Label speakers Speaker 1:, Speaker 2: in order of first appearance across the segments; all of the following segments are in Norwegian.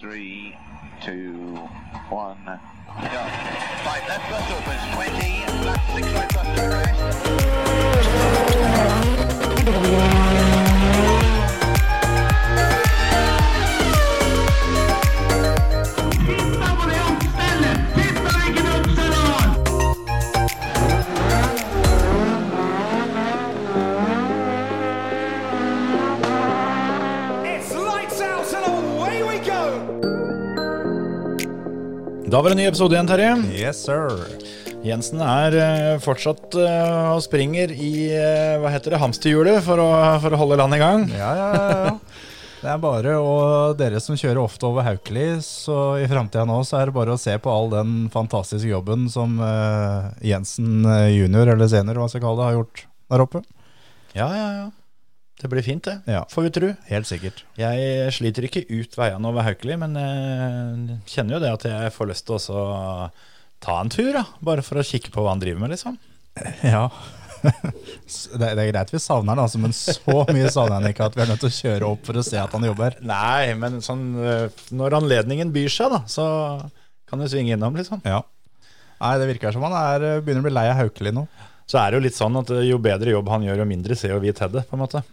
Speaker 1: Three, two, one, go. Right, left bus opens 20, left six right bus to arrest.
Speaker 2: Da var det en ny episode igjen, Terje.
Speaker 3: Yes, sir.
Speaker 2: Jensen er eh, fortsatt eh, og springer i eh, hva heter det, hamsterhjulet for å, for å holde landet i gang.
Speaker 3: Ja, ja, ja, ja. Det er bare å Dere som kjører ofte over Haukeli, så i framtida nå så er det bare å se på all den fantastiske jobben som eh, Jensen eh, junior, eller senior, hva skal jeg kalle det, har gjort der oppe.
Speaker 2: Ja, ja, ja. Det blir fint, det.
Speaker 3: Ja.
Speaker 2: Får vi tro.
Speaker 3: Helt sikkert.
Speaker 2: Jeg sliter ikke ut veiene over Haukeli, men
Speaker 3: eh,
Speaker 2: jeg kjenner jo det at jeg får lyst til også å ta en tur, da. Bare for å kikke på hva han driver med, liksom.
Speaker 3: Ja. S- det, det er greit vi savner han, altså, men så mye savner han ikke at vi er nødt til å kjøre opp for å se at han jobber.
Speaker 2: Nei, men sånn eh, når anledningen byr seg, da, så kan du svinge innom, liksom.
Speaker 3: Ja. Nei, det virker som han er, eh, begynner å bli lei av Haukeli nå.
Speaker 2: Så er det jo litt sånn at eh, jo bedre jobb han gjør, jo mindre ser jo vi til det, på en måte.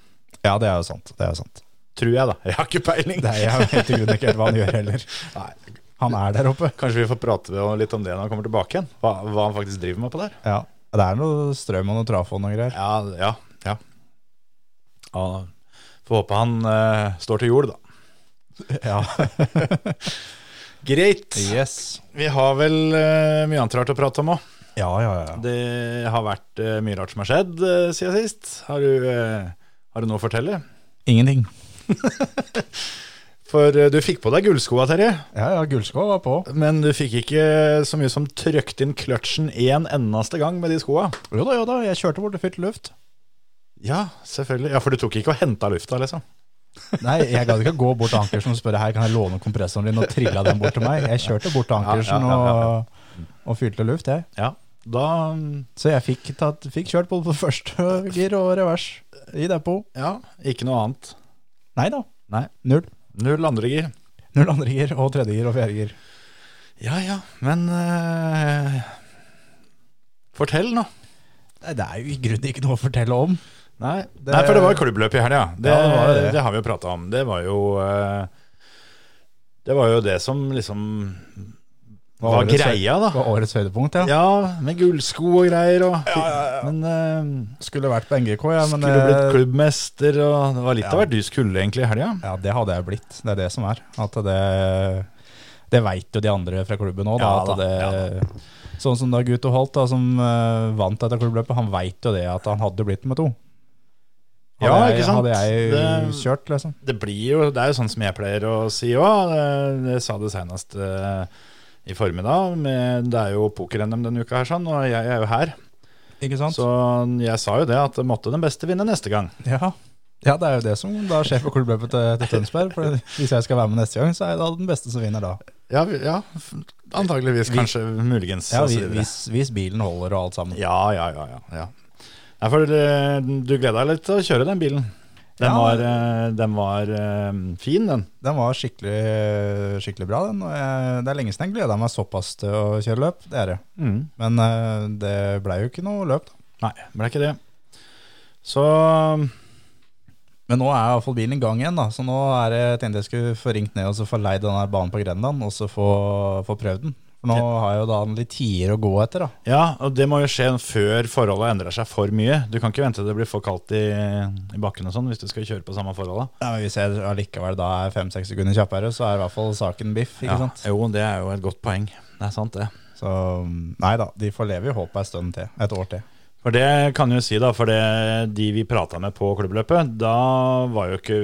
Speaker 3: Ja, det er jo sant. Det er jo sant.
Speaker 2: Tror jeg, da. Jeg har ikke peiling.
Speaker 3: Det er, jeg vet i grunnen ikke helt hva han gjør heller.
Speaker 2: Nei,
Speaker 3: Han er der oppe.
Speaker 2: Kanskje vi får prate om- litt om det når han kommer tilbake igjen. Hva, hva han faktisk driver med på der.
Speaker 3: Ja, det er noe strøm og noe trafo og noe greier.
Speaker 2: Ja, ja. ja. ja Får håpe han eh, står til jord, da.
Speaker 3: Ja.
Speaker 2: Greit.
Speaker 3: Yes.
Speaker 2: Vi har vel eh, mye annet rart å prate om òg.
Speaker 3: Ja, ja, ja.
Speaker 2: Det har vært eh, mye rart som har skjedd eh, siden sist. Har du, eh, har du noe å fortelle?
Speaker 3: Ingenting.
Speaker 2: For eh, du fikk på deg gullskoa, Terje.
Speaker 3: Ja, ja, Gullskå var på.
Speaker 2: Men du fikk ikke så mye som trøkt inn kløtsjen én eneste gang med de skoa.
Speaker 3: Jo da, jo da, jeg kjørte bort og fylte luft.
Speaker 2: Ja, selvfølgelig. Ja, For du tok ikke og henta lufta, liksom?
Speaker 3: Nei, jeg gadd ikke gå bort til Ankersen og spørre her, kan jeg låne kompressoren din, og trilla den bort til meg. Jeg kjørte bort til Ankersen
Speaker 2: Ja, ja, ja, ja.
Speaker 3: Og, og fylte luft, jeg.
Speaker 2: Ja. Da mm,
Speaker 3: Så jeg fikk, tatt, fikk kjørt både på første gir og revers i depot.
Speaker 2: Ja, ikke noe annet.
Speaker 3: Nei da.
Speaker 2: Nei.
Speaker 3: Null.
Speaker 2: Null andre gir.
Speaker 3: Null andre gir og tredje gir og fjerde gir.
Speaker 2: Ja ja, men eh, Fortell nå.
Speaker 3: Nei, det er jo i grunnen ikke noe å fortelle om.
Speaker 2: Nei, Nei, for det var jo klubbløp i helga. Det,
Speaker 3: Ja, det var jo det.
Speaker 2: det har vi jo prata om. Det var jo eh, Det var jo det som liksom var,
Speaker 3: årets høy-
Speaker 2: greia, da.
Speaker 3: Det var årets høydepunkt, ja.
Speaker 2: Ja, med gullsko og greier og Men eh,
Speaker 3: Skulle vært på NGK, ja, men
Speaker 2: skulle
Speaker 3: eh,
Speaker 2: blitt klubbmester og Det var litt
Speaker 3: ja.
Speaker 2: av hvert du skulle egentlig i helga.
Speaker 3: Ja, det hadde jeg blitt. Det er det som er. At det det veit jo de andre fra klubben òg.
Speaker 2: Ja da,
Speaker 3: Sånn som da Guto Holt, da, som eh, vant dette klubbløpet, han veit jo det at han hadde blitt med to. Hadde
Speaker 2: Ja,
Speaker 3: jeg,
Speaker 2: ikke sant?
Speaker 3: Hadde jeg
Speaker 2: Det-
Speaker 3: kjørt, liksom.
Speaker 2: det blir jo Det er jo sånn som jeg pleier å si òg. Jeg sa det senest eh, i formiddag. Men det er jo poker-NM denne uka, her sånn, og jeg er jo her.
Speaker 3: Ikke sant?
Speaker 2: Så jeg sa jo det, at måtte den beste vinne neste gang.
Speaker 3: Ja. ja, det er jo det som da skjer på klubbløpet til, til Tønsberg. For hvis jeg skal være med neste gang, så er jeg da den beste som vinner da.
Speaker 2: Ja, vi- ja f- antageligvis, kanskje, muligens.
Speaker 3: Ja,
Speaker 2: og så
Speaker 3: vi-
Speaker 2: videre.
Speaker 3: hvis, hvis bilen holder og alt sammen.
Speaker 2: ja, ja, ja. ja, ja. Nei, for eh, du gleda deg litt til å kjøre den bilen. Den
Speaker 3: Ja.
Speaker 2: var, eh, den var eh, fin, den.
Speaker 3: Den var skikkelig, skikkelig bra, den. Og jeg, det er lenge siden jeg gleda meg såpass til å kjøre løp. Det er det. Men eh, det blei jo ikke noe løp, da.
Speaker 2: Nei, ble ikke det. Så
Speaker 3: Men nå er iallfall bilen i gang igjen, da. Så nå er det, tenkte jeg skulle få ringt ned og så få leid den her banen på Grenland, og så få, få prøvd den. For nå har jeg jo da en litt tider å gå etter, da.
Speaker 2: Ja, og det må jo skje før forholdet endrer seg for mye. Du kan ikke vente til det blir for kaldt i, i bakken og sånn hvis du skal kjøre på samme forholdet.
Speaker 3: Ja, men hvis jeg allikevel da er fem-seks sekunder kjappere, så er i hvert fall saken biff, ikke
Speaker 2: Ja,
Speaker 3: sant.
Speaker 2: Jo, det er jo et godt poeng. Det er sant, det.
Speaker 3: Så mm, nei da, de får leve i håpet ei stund til. Et år til.
Speaker 2: For det kan jeg jo si, da, for det, de vi prata med på klubbløpet, da var jo ikke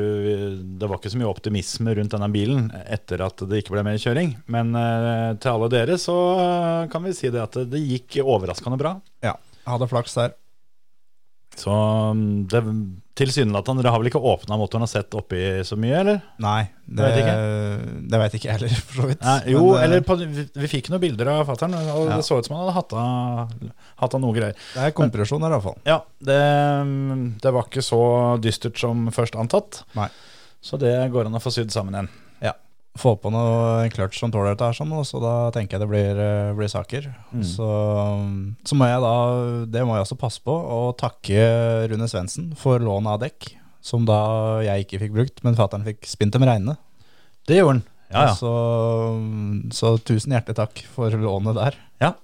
Speaker 2: Det var ikke så mye optimisme rundt denne bilen etter at det ikke ble mer kjøring. Men eh, til alle dere så eh, kan vi si det at det gikk overraskende bra.
Speaker 3: Ja, jeg hadde flaks der.
Speaker 2: Så mm, det tilsynelatende Dere har vel ikke åpna motoren og sett oppi så mye, eller?
Speaker 3: Nei, det,
Speaker 2: vet
Speaker 3: det vet ikke jeg heller, for så vidt.
Speaker 2: Nei, jo,
Speaker 3: Men, eh,
Speaker 2: eller på, vi, vi fikk noen bilder av fattern, og
Speaker 3: Ja.
Speaker 2: det så ut som han hadde hatt av, hatt av noe greier.
Speaker 3: Det er kompresjon her, iallfall.
Speaker 2: Ja, det, det var ikke så dystert som først antatt,
Speaker 3: Nei.
Speaker 2: så det går an å få sydd sammen igjen.
Speaker 3: få på noe, en clutch som tåler dette, her sånn, og så da tenker jeg det blir, eh, blir saker.
Speaker 2: Mm.
Speaker 3: Så, mm, så må jeg da, det må jeg også passe på, å takke Rune Svendsen for lånet av dekk, som da jeg ikke fikk brukt, men fattern fikk spint dem reine.
Speaker 2: Det gjorde han. Ja, ja.
Speaker 3: Så, mm, så tusen hjertelig takk for lånet der.
Speaker 2: ja.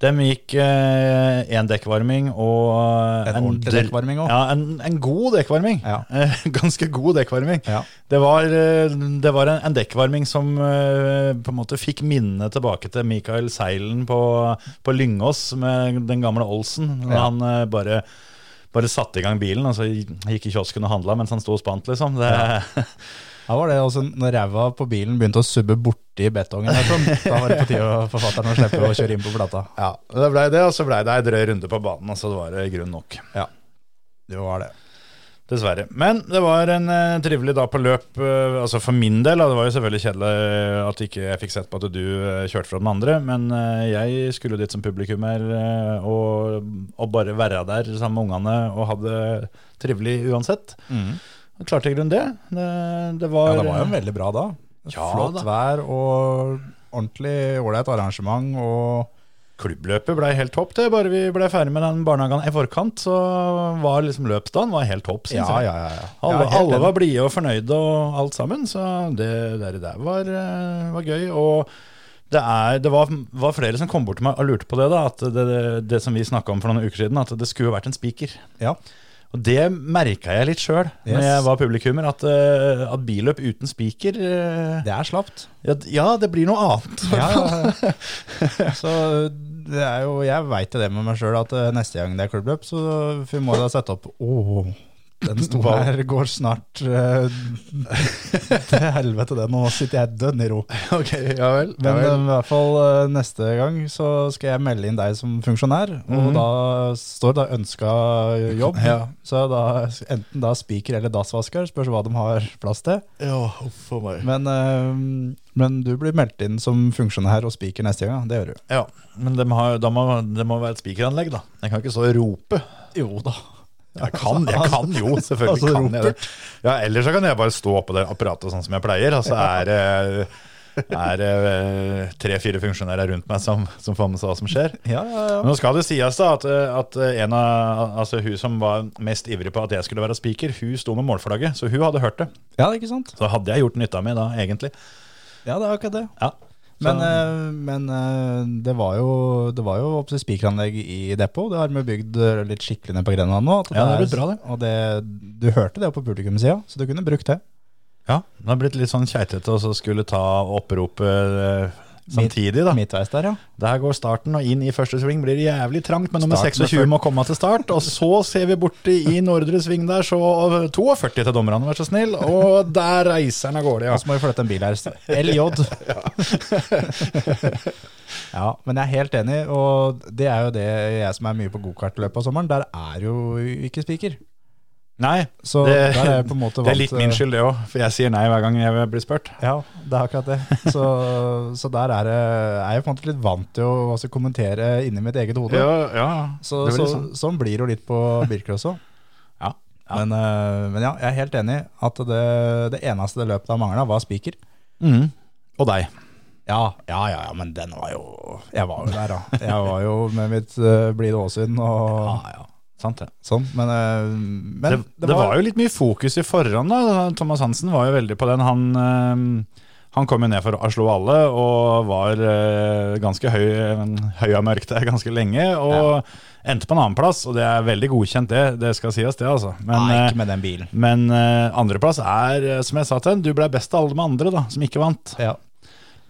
Speaker 2: De gikk én dekkvarming og
Speaker 3: En ordentlig
Speaker 2: del-
Speaker 3: dekkvarming også.
Speaker 2: Ja, en, en god dekkvarming.
Speaker 3: Ja.
Speaker 2: Eh, Ganske god dekkvarming.
Speaker 3: Ja.
Speaker 2: Det var, eh, det var en, en dekkvarming som eh, på en måte fikk minnet tilbake til Mikael Seilen på, på Lyngås med den gamle Olsen. Da
Speaker 3: Ja.
Speaker 2: han eh, bare, bare satte i gang bilen, og så gikk i kiosken og handla mens han sto og spant, liksom. Det,
Speaker 3: Da var det også når ræva på bilen begynte å subbe borti betongen, der, sånn, da var det på tide å forfatteren å slippe å kjøre inn på plata.
Speaker 2: Ja, det blei det, og så blei det ei drøy runde på banen, og så var det grunn nok.
Speaker 3: Det var det.
Speaker 2: Dessverre. Men det var en eh, trivelig dag på løp, eh, altså for min del. da. Det var jo selvfølgelig kjedelig eh, at ikke jeg fikk sett på at du eh, kjørte fra den andre, men eh, jeg skulle dit som publikummer eh, og, og bare være der sammen med ungene og ha det trivelig uansett. Jeg Klarte i grunnen det. Det, det var,
Speaker 3: Mm. Ja, det var jo en veldig bra dag.
Speaker 2: Ja,
Speaker 3: Flott
Speaker 2: da.
Speaker 3: vær og ordentlig ålreit arrangement. Og
Speaker 2: Klubbløpet blei helt topp, det. Bare vi blei ferdig med den barnehagen i forkant, så var liksom løpsdagen var helt topp, syns
Speaker 3: ja,
Speaker 2: jeg.
Speaker 3: ja, ja, ja.
Speaker 2: Alle,
Speaker 3: Ja, helt
Speaker 2: alle
Speaker 3: enig.
Speaker 2: var blide og fornøyde og alt sammen, så det der, der var, eh, var gøy. Og det, er, det var, var flere som kom bort til meg og lurte på det, da, at det, det, det som vi snakka om for noen uker siden, at det skulle jo vært en spiker.
Speaker 3: Ja.
Speaker 2: Og det merka jeg litt sjøl
Speaker 3: Yes.
Speaker 2: når jeg var publikummer, at, eh, at billøp uten spiker eh,
Speaker 3: Det er slapt.
Speaker 2: ja, d- ja, det blir noe annet.
Speaker 3: Ja, ja, ja. Så det er jo, jeg veit det med meg sjøl at eh, neste gang det er klubbløp, så vi må da sette opp Å, den stolen her går snart eh, Til helvete, det. Nå sitter jeg dønn i ro.
Speaker 2: ok, ja vel.
Speaker 3: Men eh, i hvert fall eh, neste gang så skal jeg melde inn deg som funksjonær, og da står det ønska jobb.
Speaker 2: Mhm. Ja.
Speaker 3: Så da, enten da spiker eller dassvasker, spørs hva de har plass til.
Speaker 2: ja, huff a meg.
Speaker 3: Men, eh, men du blir meldt inn som funksjonær og spiker neste gang, ja. det gjør du.
Speaker 2: Ja, men de har, da må, det må være et spikeranlegg, da. Jeg kan ikke så rope.
Speaker 3: Jo da.
Speaker 2: Jeg kan, jeg kan jo, selvfølgelig
Speaker 3: altså,
Speaker 2: kan jeg det.
Speaker 3: Robert.
Speaker 2: Ja, ellers så kan jeg bare stå på det apparatet sånn som jeg pleier. Altså er det er eh, tre-fire funksjonærer rundt meg som, som får med seg hva som skjer.
Speaker 3: Ja, ja, ja.
Speaker 2: Men nå skal det sies da at, eh, at en av, altså hun som var mest ivrig på at jeg skulle være spiker, hun sto med målflagget, så hun hadde hørt det.
Speaker 3: ja, ikke sant?
Speaker 2: Så hadde jeg gjort nytta mi da, egentlig.
Speaker 3: Ja, det er akkurat det.
Speaker 2: Ja. Så-
Speaker 3: Men, eh, men eh, det var jo, det var jo opptil spikeranlegg i depot. Det har vi bygd eh, litt skikkelig ned på Grenland nå. at
Speaker 2: Ja, det har
Speaker 3: er-
Speaker 2: blitt bra, det.
Speaker 3: Og det, du hørte det på publikumsida, så du kunne brukt det.
Speaker 2: ja, det har blitt litt sånn keitete å skulle ta oppropet eh, samtidig, da.
Speaker 3: Midtveis der, ja.
Speaker 2: Der går starten, og inn i første sving blir det jævlig trangt, men nummer
Speaker 3: Start med
Speaker 2: 26 må komme til start. Og så ser vi borti i nordre sving der, så 42 til dommerne, vær så snill. Og der reiser han av gårde, ja.
Speaker 3: Og så må vi flytte en bil her. LJ. ja, men jeg er helt enig, og det er jo det jeg som er mye på gokartløp på sommeren. Der er jo ikke spiker.
Speaker 2: Nei,
Speaker 3: Så
Speaker 2: det,
Speaker 3: der er jeg på en måte
Speaker 2: det er litt min skyld, det òg, for jeg sier nei hver gang jeg blir spurt.
Speaker 3: Ja, det er akkurat det. Så, så der er, jeg- er jeg på en måte litt vant til å også kommentere inni mitt eget hode. Så,
Speaker 2: det
Speaker 3: så,
Speaker 2: blir sånn.
Speaker 3: sånn blir det jo litt på bilcross òg.
Speaker 2: Ja, ja.
Speaker 3: Men, eh, men ja, jeg er helt enig at det, det eneste det løpet av mangla, var spiker.
Speaker 2: Mm. Og deg.
Speaker 3: Ja, ja, ja, ja, men den var jo Jeg var jo der, da. Jeg var jo med mitt uh, blide åsyn og
Speaker 2: ja. Sant det.
Speaker 3: sånn. Men, eh, men
Speaker 2: det, det, var, jo litt mye fokus i forhånd. da Thomas Hansen var jo veldig på den. Han, eh, han kom jo ned for å slå alle og var eh, ganske høy, høy av mørk der ganske lenge. Og endte på en annenplass, og det er veldig godkjent, det. Det skal sies, det, altså. Men,
Speaker 3: Nei,
Speaker 2: eh,
Speaker 3: ikke med den bilen.
Speaker 2: men eh, andreplass er, eh, som jeg sa til en, du ble best av alle de andre da, som ikke vant.
Speaker 3: Ja.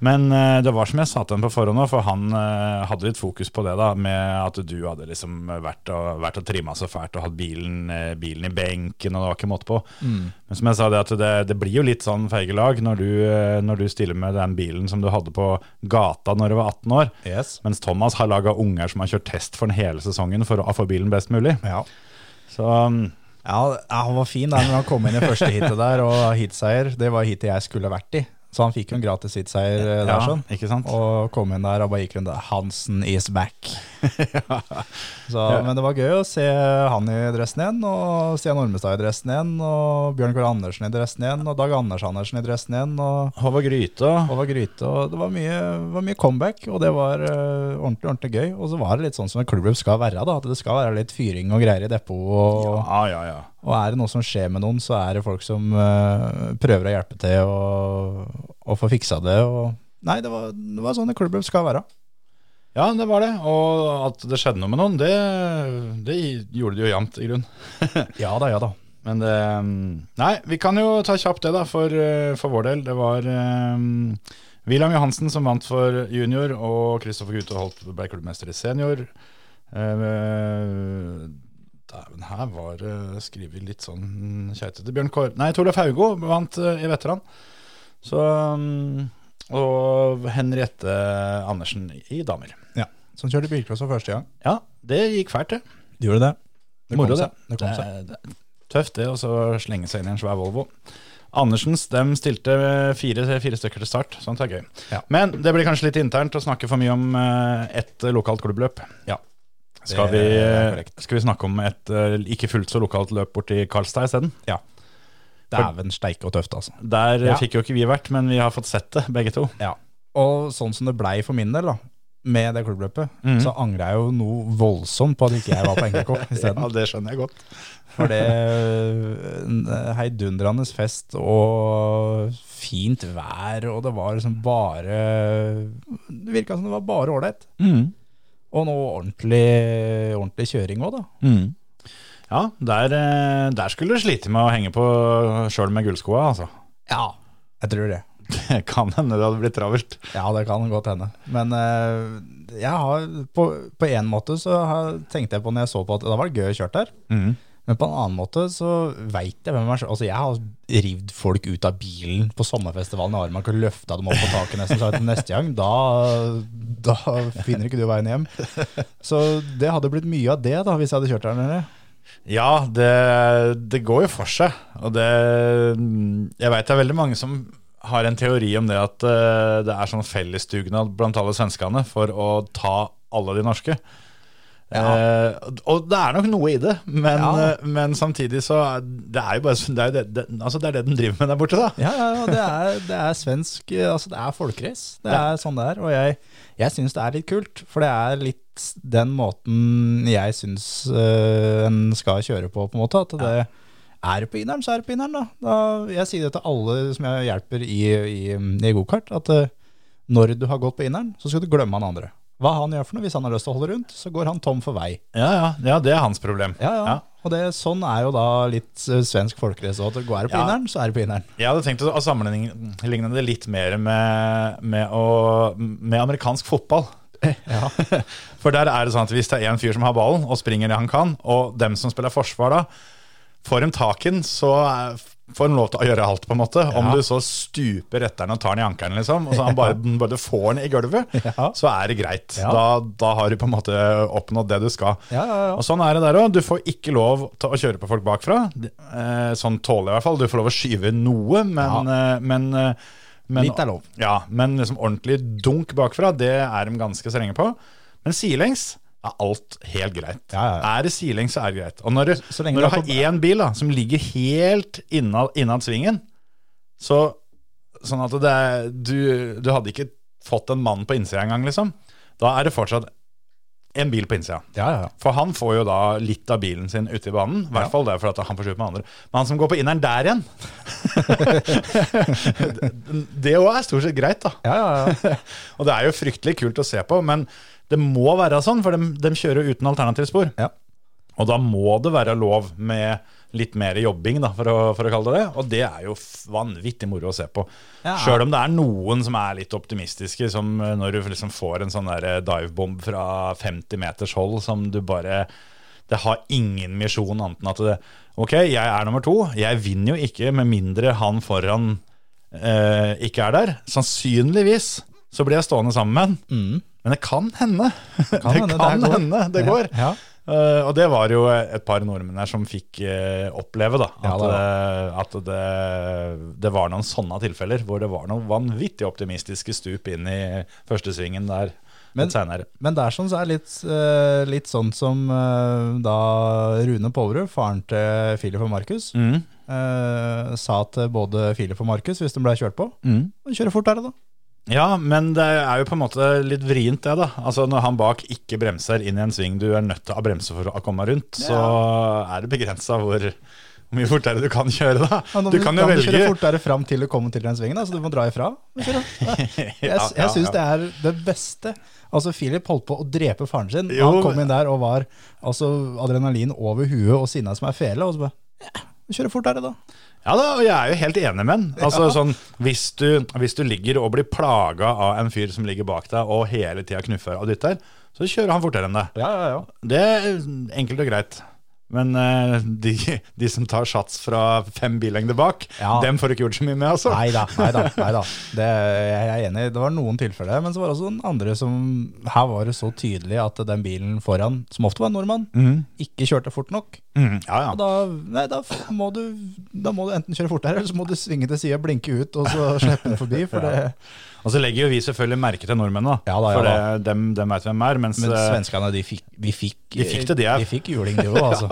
Speaker 2: Men eh, det var som jeg sa til ham på forhånd, nå, for han eh, hadde litt fokus på det, da, med at du hadde liksom vært og, vært og trimma så fælt og hatt bilen, eh, bilen i benken, og det var ikke måte på.
Speaker 3: Mm.
Speaker 2: Men som jeg sa, det, at det, det blir jo litt sånn feige lag når, du, eh, når du stiller med den bilen som du hadde på gata når du var 18 år,
Speaker 3: Yes.
Speaker 2: mens Thomas har laga unger som har kjørt test for den hele sesongen for å få bilen best mulig.
Speaker 3: Ja.
Speaker 2: Så mm,
Speaker 3: Ja, ja, han var fin da når han kom inn i første heatet der, og heatseier, det var heatet jeg skulle vært i. Så han fikk jo en gratis heatseier eh, der,
Speaker 2: ja,
Speaker 3: sånn.
Speaker 2: ikke sant?
Speaker 3: Og kom inn der og bare gikk rundt der. Hansen is back. Så, Men det var gøy å se han i dressen igjen, og Stian Ormestad i dressen igjen, og Bjørn Kåre Andersen i dressen igjen, og Dag Anders Andersen i dressen igjen, og
Speaker 2: Håvard Gryta.
Speaker 3: Håvard Gryte. Og det var mye, var mye comeback, og det var eh, ordentlig ordentlig gøy. Og så var det litt sånn som en klubbløp skal være, da, at det skal være litt fyring og greier i depot. Og,
Speaker 2: Ja, ja, ja.
Speaker 3: og er det noe som skjer med noen, så er det folk som eh, prøver å hjelpe til og, og få fiksa det. Og, nei, det var, det var sånn en klubbløp skal være.
Speaker 2: Ja, det var det. Og at det skjedde noe med noen, det, det gjorde det jo jevnt, i grunnen.
Speaker 3: Ja da, ja da.
Speaker 2: Men det Nei, vi kan jo ta kjapt det, da, for, eh, for vår del. Det var eh, William Johansen som vant for junior, og Kristoffer Gute Holt ble klubbmester i senior. Ehm, Eh, Dæven, her var det skrevet litt sånn keitete. Bjørn Kåre Nei, Torleif Haugo vant eh, i veteran. Så mm, Og Henriette Andersen i damer.
Speaker 3: Som Sånn kjørte bilcross for første gang.
Speaker 2: Ja, det gikk fælt, det.
Speaker 3: Gjorde det. Det
Speaker 2: Moro,
Speaker 3: kom
Speaker 2: det.
Speaker 3: seg. Det kom seg.
Speaker 2: er- det er tøft, det, å så slenge seg inn i en svær Volvo. Andersens dem stilte fire, fire stykker til start. Sånt er gøy.
Speaker 3: Ja.
Speaker 2: Men det blir kanskje litt internt å snakke for mye om eh, ett lokalt klubbløp.
Speaker 3: Ja.
Speaker 2: Skal
Speaker 3: Det
Speaker 2: vi, eh,
Speaker 3: er korrekt.
Speaker 2: skal vi snakke om et eh, ikke fullt så lokalt løp borti Karlstad isteden?
Speaker 3: Dæven steike og tøft, altså.
Speaker 2: Der eh,
Speaker 3: Ja.
Speaker 2: fikk jo ikke vi vært, men vi har fått sett det, begge to.
Speaker 3: Ja. Og sånn som det blei for min del, da, med det klubbløpet,
Speaker 2: Mhm.
Speaker 3: så angra jeg jo noe voldsomt på at ikke jeg var på NKK isteden.
Speaker 2: det skjønner jeg godt.
Speaker 3: For det en heidundrende fest og fint vær, og det var liksom bare Det virka som det var bare ålreit.
Speaker 2: Mm.
Speaker 3: Og noe ordentlig, ordentlig kjøring òg, da.
Speaker 2: Mm. Ja, der, eh, der skulle du slite med å henge på sjøl med gullskoa, altså.
Speaker 3: Ja. Jeg tror det.
Speaker 2: Det kan hende det hadde blitt travelt.
Speaker 3: Ja, det kan godt hende. Men eh, jeg har, på, på en måte så har, tenkte jeg på når jeg så på at det var gøy å kjøre der.
Speaker 2: Mm.
Speaker 3: Men på en annen måte så veit jeg hvem jeg er. Altså, jeg har rivd folk ut av bilen på sommerfestivalen i Armak og løfta dem opp på taket nesten. Så at neste gang, da, da finner ikke du veien hjem. Så det hadde blitt mye av det da, hvis jeg hadde kjørt der nede.
Speaker 2: Ja, det, det går jo for seg. Og det Jeg veit det er veldig mange som har en teori om det at eh, det er sånn fellesdugnad blant alle svenskene for å ta alle de norske. Eh, og det er nok noe i det, men,
Speaker 3: Ja.
Speaker 2: eh, men samtidig så er det er jo bare det, er jo det, det, altså det er det den driver med der borte, da.
Speaker 3: Ja, ja, ja det, er, det er svensk eh, Altså, det er folkrace. Det er sånn det er. Og jeg, jeg syns det er litt kult, for det er litt den måten jeg syns eh, en skal kjøre på, på en måte. At det er det på inneren, så er det på inneren, da. da. Jeg sier det til alle som jeg hjelper i, i, i gokart, at eh, når du har gått på inneren, så skal du glemme han andre. Hva han gjør for noe, Hvis han har lyst til å holde rundt, så går han tom for vei.
Speaker 2: Ja, ja, ja det er hans problem.
Speaker 3: Ja, ja.
Speaker 2: Ja.
Speaker 3: Og det, sånn er jo da litt eh, svensk folkrace òg. Er det på
Speaker 2: Ja.
Speaker 3: inneren, så er det på inneren.
Speaker 2: Jeg hadde tenkt å sammenligne det litt mer med, med, å, med amerikansk fotball. For der er det sånn at hvis det er én fyr som har ballen og springer det han kan, og dem som spiller forsvar da, får dem taken, så er- får de lov til å gjøre alt, på en måte. Om
Speaker 3: Ja.
Speaker 2: du så stuper etter den og tar den i ankelen, liksom, og så han bare, bare får den i gulvet,
Speaker 3: Ja.
Speaker 2: så er det greit.
Speaker 3: Ja.
Speaker 2: Da, da har du på en måte oppnådd det du skal.
Speaker 3: Ja, ja, ja.
Speaker 2: Og sånn er det der òg. Du får ikke lov til å kjøre på folk bakfra. Eh, sånn tåler jeg i hvert fall. Du får lov å skyve noe, men, eh, men, eh, men
Speaker 3: Litt er lov.
Speaker 2: Ja, men liksom ordentlig dunk bakfra, det er de ganske strenge på. Men sidelengs er alt helt greit.
Speaker 3: Ja, ja, ja.
Speaker 2: Er det sidelengs, så er det greit. Og når, du-
Speaker 3: så lenge du
Speaker 2: når du
Speaker 3: er
Speaker 2: har
Speaker 3: på-
Speaker 2: én bil da, som ligger helt innad, innad svingen, så sånn at det er, du, du hadde ikke fått en mann på innsida engang, liksom. Da er det fortsatt en bil på innsida.
Speaker 3: Ja, ja, ja.
Speaker 2: For han får jo da litt av bilen sin ute i banen. I hvert fall det er for at han får skjult med andre. Men han som går på inneren der igjen Det òg er stort sett greit, da.
Speaker 3: Ja, ja, ja.
Speaker 2: Og det er jo fryktelig kult å se på, men det må være sånn, for de, kjører jo uten alternativspor.
Speaker 3: Ja.
Speaker 2: Og da må det være lov med litt mer jobbing, da, for å, for å kalle det det. Og det er jo f- vanvittig moro å se på.
Speaker 3: Ja.
Speaker 2: Sjøl om det er noen som er litt optimistiske, som eh, når du liksom får en sånn der divebomb fra 50 meters hold som du bare Det har ingen misjon annet enn at det, OK, jeg er nummer to. Jeg vinner jo ikke med mindre han foran eh, ikke er der. Sannsynligvis så blir jeg stående sammen med han. Men det kan hende. det
Speaker 3: Mm. hende,
Speaker 2: kan
Speaker 3: det her går.
Speaker 2: hende det går.
Speaker 3: Ja.
Speaker 2: Eh, og det var jo et par nordmenn her som fikk eh, oppleve da, at,
Speaker 3: Ja, det
Speaker 2: det, at det, det var noen sånne tilfeller hvor det var noen vanvittig optimistiske stup inn i første svingen der
Speaker 3: Men-
Speaker 2: litt seinere.
Speaker 3: Men det er sånn så er det litt, eh, litt sånn som eh, da Rune Pålerud, faren til Philip og Markus,
Speaker 2: Mm,
Speaker 3: eh, sa til både Philip og Markus hvis de ble kjørt på.
Speaker 2: mm.
Speaker 3: Kjøre fort er det, da.
Speaker 2: Ja, men det er jo på en måte litt vrient det, da. Altså Når han bak ikke bremser inn i en sving du er nødt til å bremse for å komme rundt, så er det begrensa hvor hvor mye fortere du kan kjøre, da.
Speaker 3: Ja, nå
Speaker 2: Du kan jo velge.
Speaker 3: kjøre fortere fram til du kommer til den svingen, da, så du må dra ifra. Men kjør da. Jeg,
Speaker 2: Ja, ja,
Speaker 3: jeg syns
Speaker 2: ja.
Speaker 3: det er det beste. Altså, Philip holdt på å drepe faren sin.
Speaker 2: Jo,
Speaker 3: han kom
Speaker 2: men-
Speaker 3: inn der og var altså, adrenalin over huet og sinna som er fele. Og så bare ja, Kjøre fort er det, da.
Speaker 2: Ja da, og jeg er jo helt enig med han. Altså, sånn, hvis, du, hvis du ligger og blir plaga av en fyr som ligger bak deg og hele tida knuffer og dytter, så kjører han fortere enn deg.
Speaker 3: Ja, ja, ja.
Speaker 2: Det er enkelt og greit. Men eh, de, de som tar sats fra fem billengder bak,
Speaker 3: Ja.
Speaker 2: dem får du ikke gjort så mye med, altså.
Speaker 3: Nei da, nei da. Nei da. Det, jeg er enig. Det var noen tilfeller, men så var det også den andre som Her var det så tydelig at den bilen foran, som ofte var en nordmann,
Speaker 2: Mhm.
Speaker 3: ikke kjørte fort nok.
Speaker 2: Mm, ja, ja.
Speaker 3: Og da, nei, da, f- må du, da må du enten kjøre fortere, eller så må du svinge til sida, blinke ut og så slippe den forbi. For det,
Speaker 2: Og så legger jo vi selvfølgelig merke til nordmenn, da.
Speaker 3: Ja da, ja
Speaker 2: for det,
Speaker 3: da.
Speaker 2: dem, dem veit hvem er. Mens
Speaker 3: men
Speaker 2: eh,
Speaker 3: svenskene, de fikk, vi fikk,
Speaker 2: De fikk det, de, ja.
Speaker 3: de fikk juling, de òg, altså.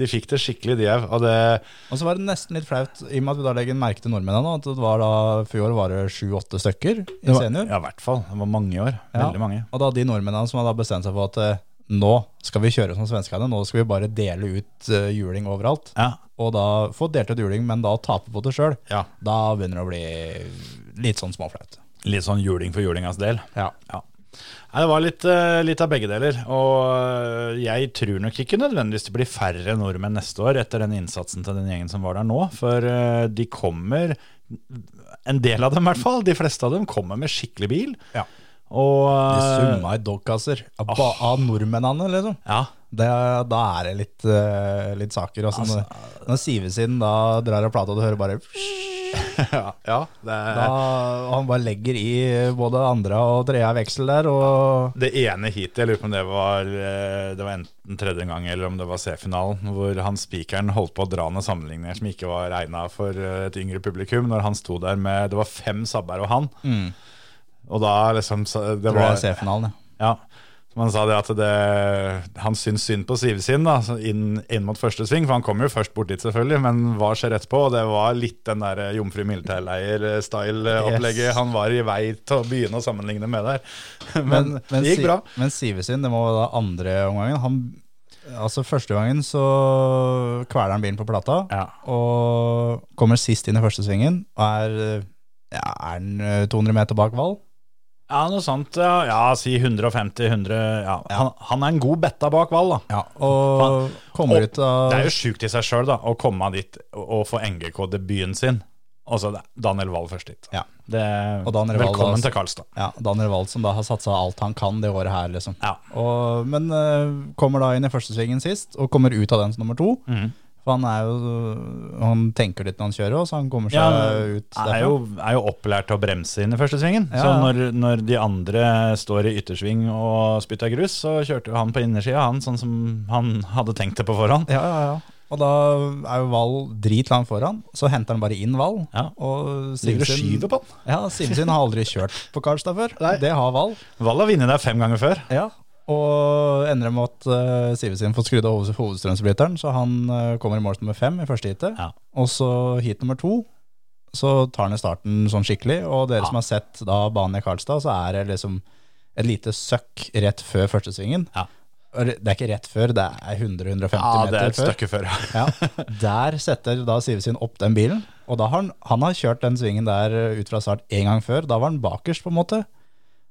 Speaker 2: de fikk det skikkelig, de òg. Og det
Speaker 3: Og så var det nesten litt flaut, i og med at vi da legger merke til nordmennene, at det var da, for i år var det sju-åtte stykker i
Speaker 2: var,
Speaker 3: senior.
Speaker 2: Ja, i hvert fall. Det var mange år.
Speaker 3: Ja.
Speaker 2: Veldig mange.
Speaker 3: Og da de nordmennene som hadde bestemt seg for at eh, nå skal vi kjøre som svenskene, nå skal vi bare dele ut eh, juling overalt.
Speaker 2: Ja.
Speaker 3: Og da få delt ut juling, men da tape på det sjøl.
Speaker 2: ja.
Speaker 3: Da begynner det å bli litt sånn småflaut.
Speaker 2: Litt sånn juling for julingas del.
Speaker 3: Ja.
Speaker 2: Ja. Nei, det var litt, eh, litt av begge deler. Og eh, jeg tror nok ikke nødvendigvis det blir færre nordmenn neste år etter den innsatsen til den gjengen som var der nå. For eh, de kommer, en del av dem i hvert fall, de fleste av dem kommer med skikkelig bil.
Speaker 3: ja.
Speaker 2: Og
Speaker 3: De
Speaker 2: eh, ah.
Speaker 3: summa i dogkasser av, ba- av nordmennene, liksom.
Speaker 2: ja,
Speaker 3: Det, da er det litt, eh, litt saker. Altså, når, når Sivesiden da drar av plata, og du hører bare
Speaker 2: ja, ja, det er
Speaker 3: da, og Han bare legger i både andre og tredje veksel der, og
Speaker 2: det ene heatet. Jeg lurer på om det var, eh, det var enten tredje gang eller om det var C-finalen, hvor han spikeren holdt på å dra ned sammenligninger som ikke var regna for eh, et yngre publikum, når han sto der med Det var fem sabber og han. Og da liksom så- Det
Speaker 3: tror jeg
Speaker 2: var
Speaker 3: C-finalen, ja.
Speaker 2: Ja. Som han sa det at det, han syns synd på Sive sin da, så inn, inn mot første sving, for han kom jo først bort dit selvfølgelig, men hva skjer etterpå? Og det var litt den der eh, jomfru Mildteileier-style-opplegget
Speaker 3: Yes.
Speaker 2: han var i vei til å begynne å sammenligne med der. Men,
Speaker 3: Men,
Speaker 2: det gikk
Speaker 3: Si-
Speaker 2: bra.
Speaker 3: Men Sivesyn, det må være da andre omgangen. Han, altså første gangen så kveler han bilen på plata,
Speaker 2: Ja.
Speaker 3: og kommer sist inn i første svingen, og er, ja, er han eh, 200 meter bak Val?
Speaker 2: ja, noe sånt. Ja, ja si 150-100. Ja. Han, han er en god betta bak Val,
Speaker 3: Ja,
Speaker 2: da.
Speaker 3: og kommer
Speaker 2: Og
Speaker 3: ut av
Speaker 2: Det er jo sjukt i seg sjøl å komme dit og, og få NGK-debuten sin. Og så Daniel Wahl først dit.
Speaker 3: Ja.
Speaker 2: Det,
Speaker 3: Og Daniel altså. Wahl,
Speaker 2: velkommen
Speaker 3: da-
Speaker 2: til Karlstad.
Speaker 3: ja, Daniel Wald som da har satsa alt han kan det året her, liksom.
Speaker 2: Ja.
Speaker 3: Og, men eh, kommer da inn i første svingen sist, og kommer ut av den som nummer to.
Speaker 2: Mhm.
Speaker 3: For han er jo Han tenker litt når han kjører òg, så han kommer seg ut
Speaker 2: er jo, er jo opplært til å bremse inn i første svingen.
Speaker 3: Ja,
Speaker 2: Så
Speaker 3: ja.
Speaker 2: når, når de andre står i yttersving og spytter grus, så kjørte jo han på innersida, han, sånn som han hadde tenkt det på forhånd.
Speaker 3: Ja, ja, ja. Og da er jo Val dritlangt foran, så henter han bare inn Val.
Speaker 2: Ja.
Speaker 3: Og
Speaker 2: Ligger og skyver på han.
Speaker 3: Ja, Simsin har aldri kjørt på Karlstad før. Det har Val.
Speaker 2: Wall har vunnet der fem ganger før.
Speaker 3: Ja. Og ender med at uh, Sivesin får skrudd av hoved- hovedstrømsbryteren, så han eh, kommer i mål nummer fem i første heatet.
Speaker 2: Ja.
Speaker 3: Og så heat nummer to, så tar han i starten sånn skikkelig. Og dere
Speaker 2: Ja.
Speaker 3: som har sett da banen i Karlstad, så er det liksom et lite søkk rett før første svingen.
Speaker 2: Ja.
Speaker 3: Og Det er ikke rett før, det er 100-150
Speaker 2: Ja, det er
Speaker 3: meter
Speaker 2: et
Speaker 3: før.
Speaker 2: stykke før. ja.
Speaker 3: Ja, Der setter da Sivesin opp den bilen, og da har han, han har kjørt den svingen der eh, ut fra start en gang før. Da var han bakerst, på en måte.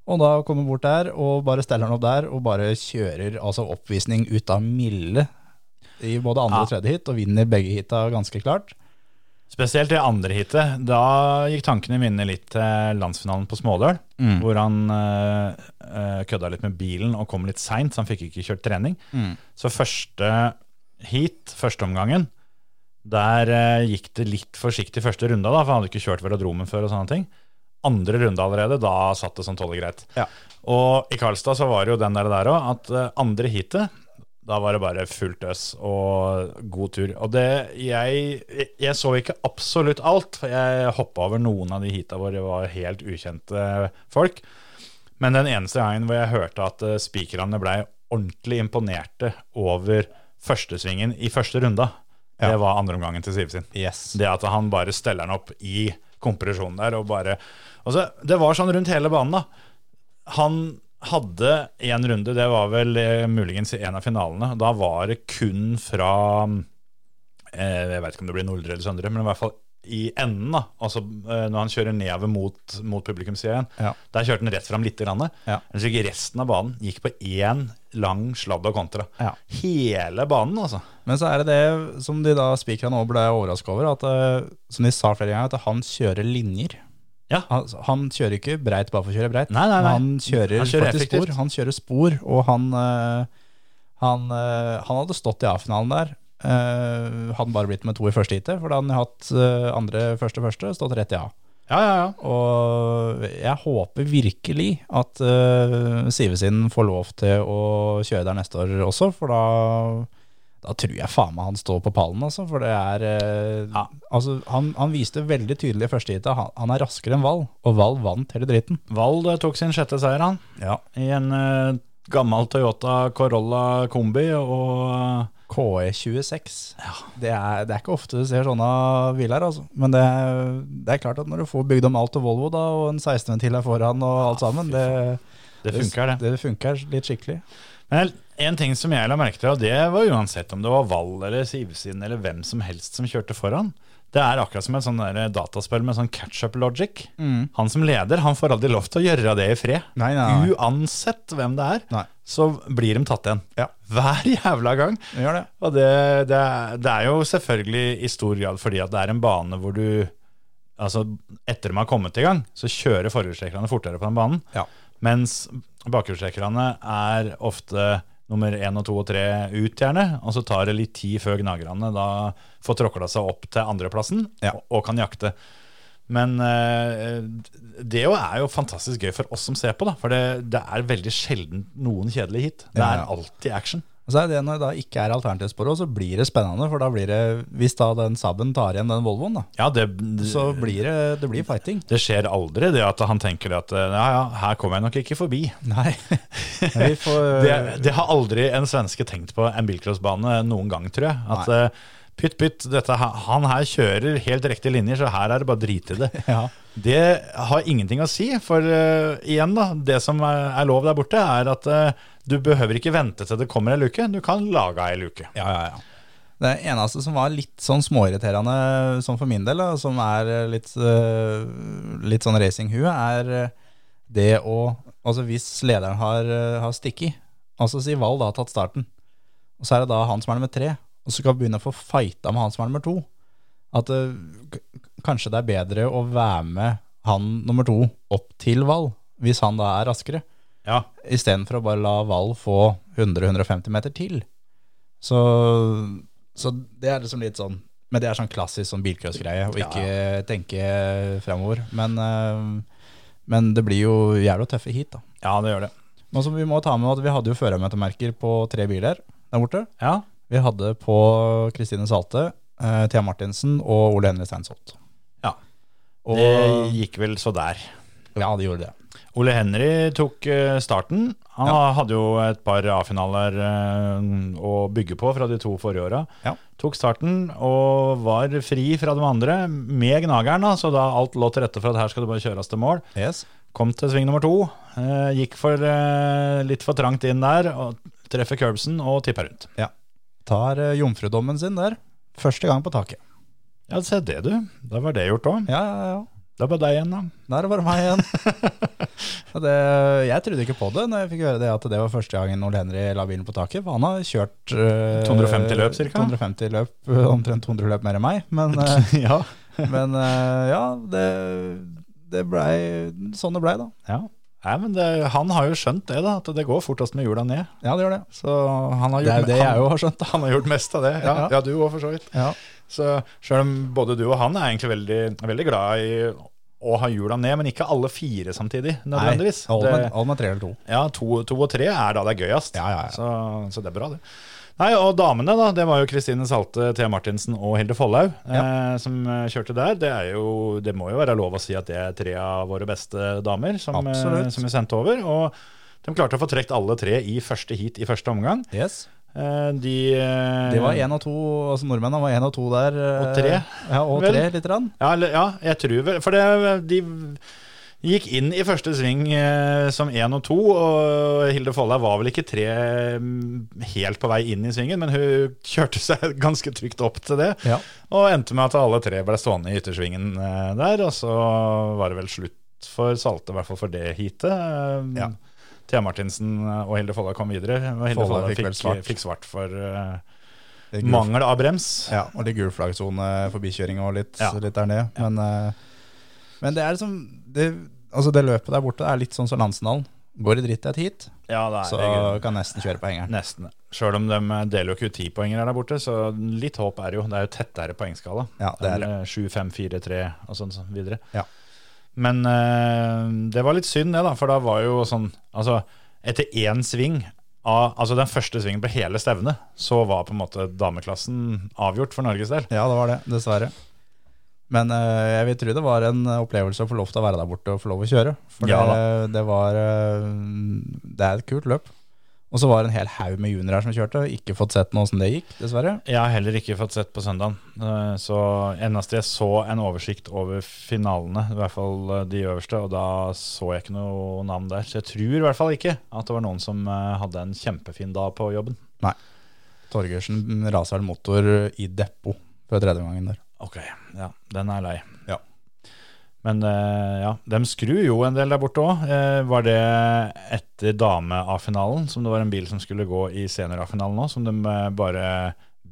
Speaker 3: Og da kommer han bort der, og bare steller han opp der, og bare kjører altså oppvisning ut av milde i både andre og tredje hit, og vinner begge hita ganske klart.
Speaker 2: Spesielt det andre heatet. Da gikk tankene mine litt til landsfinalen på Smådøl, hvor han eh, eh, kødda litt med bilen og kom litt seint, så han fikk ikke kjørt trening. Så første heat, første omgangen, der eh, gikk det litt forsiktig første runda, da, for han hadde ikke kjørt velodromen før. og sånne ting. Andre runde allerede, da satt det som tålelig greit.
Speaker 3: Ja.
Speaker 2: Og i Karlstad så var det jo den der der òg, at eh, andre heatet da var det bare fullt øs og god tur. Og det, jeg, jeg så ikke absolutt alt, for jeg hoppa over noen av de heata hvor det var helt ukjente folk. Men den eneste gangen hvor jeg hørte at eh, spikerne blei ordentlig imponerte over førstesvingen i første runda, det var andreomgangen til Siv sin.
Speaker 3: Yes.
Speaker 2: Det at han bare steller den opp i kompresjonen der og bare og så, Det var sånn rundt hele banen, da. Han hadde én runde, det var vel eh, muligens i en av finalene. Da var det kun fra eh, Jeg vet ikke om det blir Nordre eller Søndre, men i hvert fall i enden, da. Altså eh, når han kjører nedover mot, mot publikumssida igjen.
Speaker 3: Ja.
Speaker 2: Der kjørte han rett fram litt. Grann,
Speaker 3: Ja.
Speaker 2: Ellers gikk resten av banen gikk på én lang sladd og kontra.
Speaker 3: Ja.
Speaker 2: Hele banen, altså.
Speaker 3: Men så er det det som de da spikerne òg ble overraska over, at, eh, som de sa flere ganger, at han kjører linjer.
Speaker 2: Ja.
Speaker 3: Han, han kjører ikke breit bare for å kjøre breit.
Speaker 2: Nei, nei,
Speaker 3: men
Speaker 2: nei.
Speaker 3: Han kjører,
Speaker 2: Han kjører
Speaker 3: faktisk
Speaker 2: effektivt.
Speaker 3: spor. Han kjører spor, og han, eh, han, eh, han hadde stått i A-finalen der. Eh, hadde bare blitt med to i første heatet, for da hadde han hatt eh, andre første første, stått rett i A.
Speaker 2: Ja, ja, ja.
Speaker 3: Og jeg håper virkelig at uh, Sivesen får lov til å kjøre der neste år også, for da, da tror jeg faen meg han står på pallen, altså. For det er eh,
Speaker 2: Ja.
Speaker 3: Altså, han, han viste veldig tydelig i første heatet. Han, han er raskere enn Val, og Val vant hele dritten.
Speaker 2: Vald eh, tok sin sjette seier, han.
Speaker 3: Ja.
Speaker 2: I en eh, gammel Toyota Corolla kombi, og eh,
Speaker 3: KE26. E Det, er, det er ikke ofte du ser sånne biler, altså. Men det er, det er klart at når du får bygd om alt til Volvo, da, og en 16-ventil er foran og alt sammen, det,
Speaker 2: det funker, det.
Speaker 3: det funker litt skikkelig.
Speaker 2: Men en ting som jeg la merke til, og det var uansett om det var Vald eller Sivsin eller hvem som helst som kjørte foran, det er akkurat som et sånn der dataspill med sånn catch-up logic. Han som leder, han får aldri lov til å gjøre det i fred.
Speaker 3: Mm. Nei, nei, nei.
Speaker 2: Uansett hvem det er,
Speaker 3: Nei.
Speaker 2: så blir de tatt igjen.
Speaker 3: Ja.
Speaker 2: Hver jævla gang.
Speaker 3: Vi gjør det.
Speaker 2: Og det, det, er, det er jo selvfølgelig i stor grad fordi at det er en bane hvor du Altså, etter de har kommet i gang, så kjører forhjulstrekkerne fortere på den banen.
Speaker 3: Ja.
Speaker 2: Mens bakhjulstrekkerne er ofte nummer én og to og tre ut, gjerne. Og så tar det litt tid før gnagerne da får tråkla seg opp til andreplassen
Speaker 3: Ja.
Speaker 2: og, og kan jakte. Men eh, det jo er jo fantastisk gøy for oss som ser på, da. For det, det er veldig sjelden noen kjedelige hit. Det
Speaker 3: Ja,
Speaker 2: er
Speaker 3: ja.
Speaker 2: alltid action.
Speaker 3: Og så er det Når det da ikke er alternativspor, også, så blir det spennende. For da blir det, hvis da den Saben tar igjen den Volvoen, da,
Speaker 2: Ja, det,
Speaker 3: så blir det, det blir fighting.
Speaker 2: Det skjer aldri det at han tenker at eh, ja, ja, her kommer jeg nok ikke forbi.
Speaker 3: Nei. Vi får,
Speaker 2: Det, det har aldri en svenske tenkt på en bilcrossbane noen gang, tror jeg. At eh, pytt, pytt, dette, her- han her kjører helt riktige linjer, så her er det bare drit i det.
Speaker 3: Ja.
Speaker 2: Det har ingenting å si, for eh, igjen, da, det som er, er lov der borte, er at eh, du behøver ikke vente til det kommer ei luke, du kan lage ei luke.
Speaker 3: Ja, ja, ja. Det eneste som var litt sånn småirriterende, sånn for min del, da, som er litt, eh, litt sånn racinghue, er eh, det å Altså hvis lederen har, eh, har stikket, altså si Val da har tatt starten, og så er det da han som er nummer tre, og så skal begynne å få fighta med han som er nummer to. At eh, k- kanskje det er bedre å være med han nummer to opp til Val, hvis han da er raskere
Speaker 2: Ja,
Speaker 3: istedenfor å bare la Val få 100-150 meter til. Så, så det er liksom litt sånn Men det er sånn klassisk sånn bilcrossgreie, å ikke tenke framover. Men, eh, men det blir jo jævla tøffe heat, da.
Speaker 2: ja det gjør det.
Speaker 3: Nå som vi må ta med at vi hadde jo førermøtemerker på tre biler der borte.
Speaker 2: Ja,
Speaker 3: Vi hadde på Kristine Salte, eh, Thea Martinsen og Ole Henry Steinsholt.
Speaker 2: Ja.
Speaker 3: Og,
Speaker 2: det gikk vel så der.
Speaker 3: ja, de gjorde det.
Speaker 2: Ole Henry tok eh, starten. Han hadde jo et par A-finaler eh, å bygge på fra de to forrige åra.
Speaker 3: Ja.
Speaker 2: Tok starten og var fri fra de andre med gnageren, da, så da alt lå til rette for at her skal det bare kjøres til mål.
Speaker 3: Yes.
Speaker 2: Kom til sving nummer to. eh, Gikk for eh, litt for trangt inn der. og Treffer curbsen og tipper rundt.
Speaker 3: Tar eh, jomfrudommen sin der. Første gang på taket.
Speaker 2: Ja, se det, du. Da var det gjort òg.
Speaker 3: Ja, ja, ja.
Speaker 2: Det var deg igjen, da.
Speaker 3: Da er det bare meg igjen. Og det, jeg trodde ikke på det når jeg fikk høre det at det var første gangen Ole Henry la bilen på taket. For han har kjørt eh,
Speaker 2: 250 løp, cirka?
Speaker 3: 250 løp, eh, omtrent 200 løp mer enn meg. Men, eh,
Speaker 2: ja.
Speaker 3: men eh, ja, det, det blei sånn det blei, da.
Speaker 2: ja. Nei, men det, han har jo skjønt det, da. At det går fortest med hjula ned.
Speaker 3: Ja, det gjør det.
Speaker 2: Så han har
Speaker 3: Det er
Speaker 2: gjort
Speaker 3: jo det
Speaker 2: han-
Speaker 3: jeg òg har skjønt, da.
Speaker 2: Han har gjort mest av det. Ja,
Speaker 3: Ja.
Speaker 2: ja. du òg, for så vidt.
Speaker 3: Ja,
Speaker 2: Så selv om både du og han er egentlig veldig, veldig glad i å ha hjula ned, men ikke alle fire samtidig,
Speaker 3: Nei,
Speaker 2: nødvendigvis.
Speaker 3: hold med,
Speaker 2: Det,
Speaker 3: hold med tre eller to.
Speaker 2: ja, to, to og tre er da det er gøyest.
Speaker 3: Ja, ja, ja.
Speaker 2: Så, så det er bra, det. Nei, og damene, da. Det var jo Kristine Salte, Thea Martinsen og Hilde Follhaug eh, som eh, kjørte der. Det, er jo, det må jo være lov å si at det er tre av våre beste damer som, eh,
Speaker 3: Absolutt.
Speaker 2: som vi sendte over. Og de klarte å få trukket alle tre i første heat i første omgang.
Speaker 3: Yes.
Speaker 2: Eh, de eh,
Speaker 3: De var én og to, altså nordmennene var én og to der.
Speaker 2: Og
Speaker 3: eh,
Speaker 2: tre.
Speaker 3: Ja, og
Speaker 2: Vel.
Speaker 3: tre, lite grann.
Speaker 2: Ja, eller- ja, jeg tror vel For det, de gikk inn i første sving eh, som én og to, og Hilde Follhaug var vel ikke tre mm, helt på vei inn i svingen, men hun kjørte seg ganske trygt opp til det.
Speaker 3: Ja.
Speaker 2: Og endte med at alle tre ble stående i yttersvingen eh, der, og så var det vel slutt for Salte, i hvert fall for det heatet. Eh,
Speaker 3: Ja.
Speaker 2: Thea Martinsen eh, og Hilde Follhaug kom videre, og Hilde
Speaker 3: Follhaug
Speaker 2: Follhaug
Speaker 3: fikk
Speaker 2: fikk,
Speaker 3: vel svart.
Speaker 2: fikk, svart for eh,
Speaker 3: Det er gul-
Speaker 2: mangel av brems.
Speaker 3: Ja, og litt gul flaggsone, eh, forbikjøring og litt,
Speaker 2: Ja.
Speaker 3: litt der nede. Men, eh, men det er liksom det, altså det løpet der borte er litt sånn som Landsendalen. Går det dritt i et heat,
Speaker 2: Ja, det
Speaker 3: så kan nesten kjøre på hengeren.
Speaker 2: Nesten. Sjøl om de eh, deler jo ikke ut tipoenger her der borte, så litt håp er det jo. Det er jo tettere poengskala. eh,
Speaker 3: Ja, det er det.
Speaker 2: 7, 5, 4, 3 og sånn sånn videre.
Speaker 3: Ja.
Speaker 2: Men eh, det var litt synd det, da, for da var jo sånn Altså, etter én sving av, altså den første svingen på hele stevnet, så var på en måte dameklassen avgjort for Norges del.
Speaker 3: Ja, det var det, dessverre. Men eh, jeg vil tro det var en opplevelse å få lov til å være der borte og få lov å kjøre. For
Speaker 2: Ja
Speaker 3: det, det var eh, Det er et kult løp. Og så var det en hel haug med juniorer her som kjørte. Ikke fått sett noe åssen det gikk, dessverre.
Speaker 2: Jeg har heller ikke fått sett på søndagen. eh, Så eneste jeg så en oversikt over finalene, i hvert fall eh, de øverste, og da så jeg ikke noe navn der. Så jeg tror i hvert fall ikke at det var noen som eh, hadde en kjempefin dag på jobben.
Speaker 3: Torgersen raser en motor i depot for tredje gangen der.
Speaker 2: Ok, ja, den er lei.
Speaker 3: Ja.
Speaker 2: Men eh, ja, de skrur jo en del der borte òg. Var det etter dame-A-finalen, som det var en bil som skulle gå i senior-A-finalen òg, som de eh, bare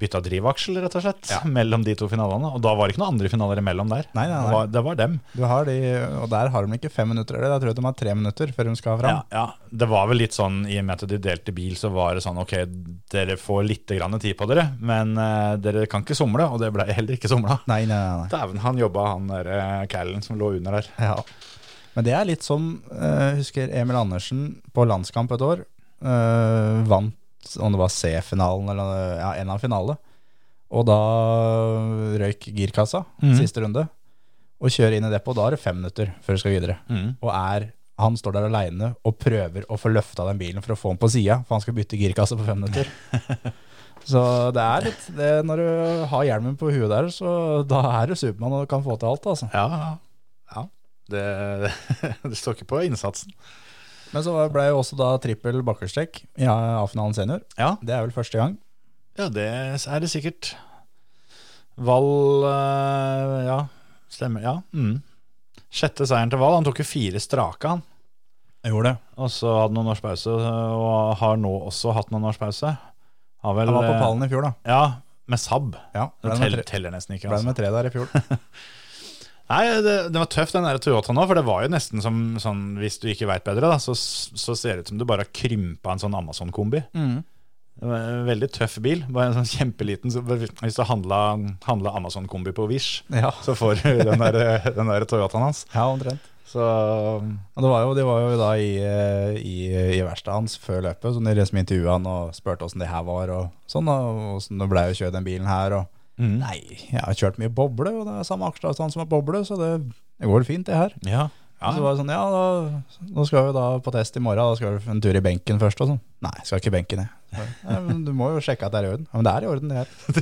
Speaker 2: bytta drivaksel, rett og slett, mellom de to finalene. Og da var det ikke noen andre finaler imellom der.
Speaker 3: Nei, nei, nei.
Speaker 2: Det, var, det var dem.
Speaker 3: Du har de, og der har de ikke fem minutter, eller jeg tror de har tre minutter før de skal
Speaker 2: Ja,
Speaker 3: fram.
Speaker 2: ja, det var vel litt sånn i og med at de delte bil, så var det sånn ok, dere får litt grann tid på dere, men eh, dere kan ikke somle, og det ble heller ikke somla.
Speaker 3: Nei, nei, nei. nei.
Speaker 2: Dæven, han jobba, han der eh, Callen som lå under der.
Speaker 3: Ja. Men det er litt som, eh, husker Emil Andersen på landskamp et år, eh, vant, om det var C-finalen, eller ja, en av finale, og da røyk girkassa,
Speaker 2: Mhm.
Speaker 3: siste runde, og kjører inn i depot, da er det fem minutter før du skal videre. Og er, han står der alene og prøver å få løfta den bilen for å få den på sida, for han skal bytte girkasse på fem minutter. Så det er litt det, Når du har hjelmen på huet der, så da er du Supermann og kan få til alt, altså.
Speaker 2: Ja, ja. Det, det står ikke på innsatsen.
Speaker 3: Men så ble jo også da trippel bakkelstrekk i A-finalen senior.
Speaker 2: Ja.
Speaker 3: Det er vel første gang.
Speaker 2: Ja, det er det sikkert. Val eh, Ja, stemmer. Ja. Mm. Sjette seieren til Val. Han tok jo fire strake, han.
Speaker 3: Jeg gjorde det.
Speaker 2: Og så hadde noen års pause, og har nå også hatt noen års pause. Har vel, eh,
Speaker 3: Jeg var på pallen i fjor, da.
Speaker 2: Ja, med Saab.
Speaker 3: Ja,
Speaker 2: Det
Speaker 3: ble med
Speaker 2: teller,
Speaker 3: tre,
Speaker 2: teller nesten ikke.
Speaker 3: ble
Speaker 2: Altså.
Speaker 3: med tre der i fjor.
Speaker 2: Nei, det, det var tøft den der Toyota nå, for det var jo nesten som sånn, hvis du ikke veit bedre, da, så, så ser det ut som du bare har krympa en sånn Amazon-kombi.
Speaker 3: Mm.
Speaker 2: Det var en Veldig tøff bil. Bare en sånn kjempeliten. Så hvis du handla, handla Amazon-kombi på Wish,
Speaker 3: Ja.
Speaker 2: så får du den der, den der Toyotaen hans.
Speaker 3: ja, omtrent.
Speaker 2: Så
Speaker 3: Og det var jo, de var jo da i, eh, i, i verkstedet hans før løpet, så de liksom intervjua han og spurte åssen det her var, og sånn, og åssen det blei å kjøre den bilen her. Og
Speaker 2: mm.
Speaker 3: nei, jeg har kjørt mye boble, og det er samme aksjeavstand som er boble, så det, det går fint, det her.
Speaker 2: ja.
Speaker 3: Og så var det sånn, ja, da, nå skal vi da på test i morgen, da skal vi en tur i benken først og sånn. Nei, jeg skal ikke i benken, jeg. Så, «Nei, men du må jo sjekke at det er i orden. Ja, men det er i orden, det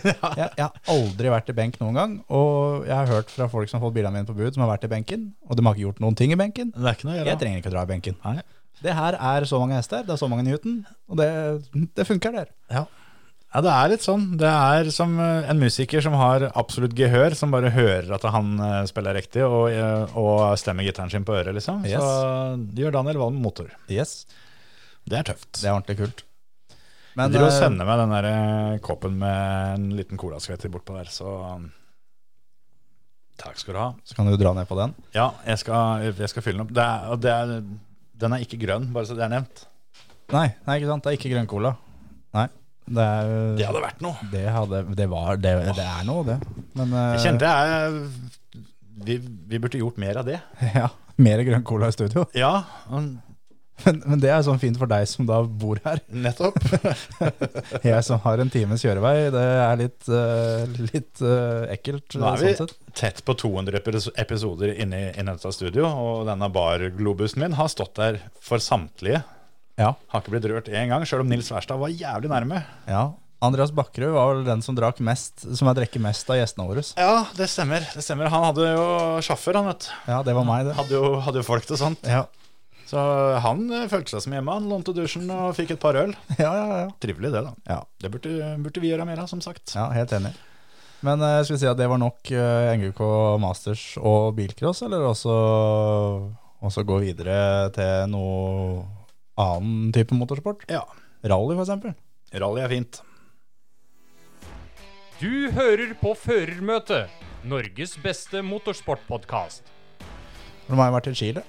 Speaker 3: her. Jeg, jeg har aldri vært i benk noen gang, og jeg har hørt fra folk som har fått bilene mine på bud, som har vært i benken, og de har ikke gjort noen ting i benken.
Speaker 2: Det er ikke noe å gjøre.
Speaker 3: Jeg trenger ikke å dra i benken.
Speaker 2: Nei.
Speaker 3: Det her er så mange hester, det er så mange Newton, og det, det funker der.
Speaker 2: Ja, det er litt sånn. Det er som eh, en musiker som har absolutt gehør, som bare hører at han eh, spiller riktig og, eh, og stemmer gitaren sin på øret, liksom.
Speaker 3: Yes.
Speaker 2: Så det gjør Daniel Wall med motor.
Speaker 3: Yes,
Speaker 2: Det er tøft.
Speaker 3: det er ordentlig kult.
Speaker 2: Jeg driver og
Speaker 3: eh,
Speaker 2: sender meg den der eh, koppen med en liten colaskvetter bortpå der, så um, Takk skal du ha.
Speaker 3: så kan du dra ned på den.
Speaker 2: Ja, jeg skal, jeg skal fylle den opp. Det er, og det er, den er ikke grønn, bare så det er nevnt.
Speaker 3: Nei, nei, ikke sant, det er ikke grønn cola. Nei, det er...
Speaker 2: Det hadde vært noe.
Speaker 3: Det, hadde, det, var, det, det er noe, det. Men eh,
Speaker 2: Jeg kjente jeg vi, vi burde gjort mer av det.
Speaker 3: ja, mer grønn cola i studio.
Speaker 2: Ja, men
Speaker 3: Men, men det er sånn fint for deg som da bor her.
Speaker 2: Nettopp.
Speaker 3: Jeg som har en times kjørevei, det er litt, eh, litt eh, ekkelt.
Speaker 2: Nå er vi
Speaker 3: sånn sett.
Speaker 2: tett på 200 epis- episoder inne i- i dette studio, og denne barglobusen min har stått der for samtlige.
Speaker 3: Ja.
Speaker 2: Har ikke blitt rørt én gang, sjøl om Nils Wærstad var jævlig nærme.
Speaker 3: ja. Andreas Bakkerud var vel den som drakk mest, som har drukket mest av gjestene våre.
Speaker 2: Ja, det stemmer. det stemmer. Han hadde jo sjåfør, han, vet du.
Speaker 3: Ja, det var meg, det.
Speaker 2: Hadde jo, hadde jo folk til sånt.
Speaker 3: Ja,
Speaker 2: Så han eh, følte seg som hjemme. Han lånte dusjen og fikk et par øl.
Speaker 3: ja, ja. ja.
Speaker 2: Trivelig, det, da.
Speaker 3: ja.
Speaker 2: Det burde, burde vi gjøre mer av, som sagt.
Speaker 3: Ja, helt enig. Men eh, skal vi si at det var nok eh, NGK Masters og bilcross, eller også, også gå videre til noe annen type motorsport?
Speaker 2: Ja.
Speaker 3: Rally, for eksempel.
Speaker 2: Rally er fint.
Speaker 4: Du hører på Førermøtet, Norges beste motorsportpodkast.
Speaker 3: For de har jo vært i Chile.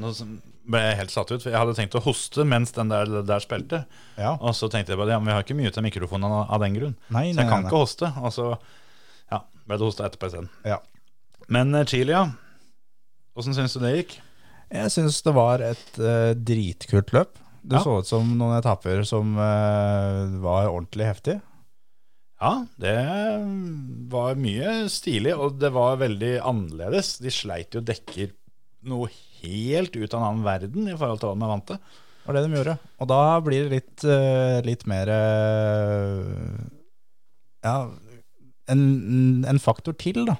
Speaker 2: Nå som- ble jeg helt satt ut, for jeg hadde tenkt å hoste mens den der, der spilte.
Speaker 3: Ja.
Speaker 2: Og så tenkte jeg på det, ja, men vi har ikke mye til mikrofonen av- av den grunn.
Speaker 3: Nei,
Speaker 2: så
Speaker 3: nei,
Speaker 2: jeg kan
Speaker 3: nei,
Speaker 2: ikke hoste. Og så ja, ble det hosta etterpå isteden.
Speaker 3: Ja.
Speaker 2: Men eh, Chile, ja. Åssen syns du det gikk?
Speaker 3: Jeg syns det var et eh, dritkult løp. Det
Speaker 2: Ja.
Speaker 3: så ut som noen etapper som eh, var ordentlig heftig.
Speaker 2: Ja, det var mye stilig, og det var veldig annerledes. De sleit jo dekker noe helt ut av en annen verden i forhold til hva de er vant til.
Speaker 3: Det var det de gjorde. Og da blir det litt, eh, litt mer eh, Ja, en, en faktor til, da.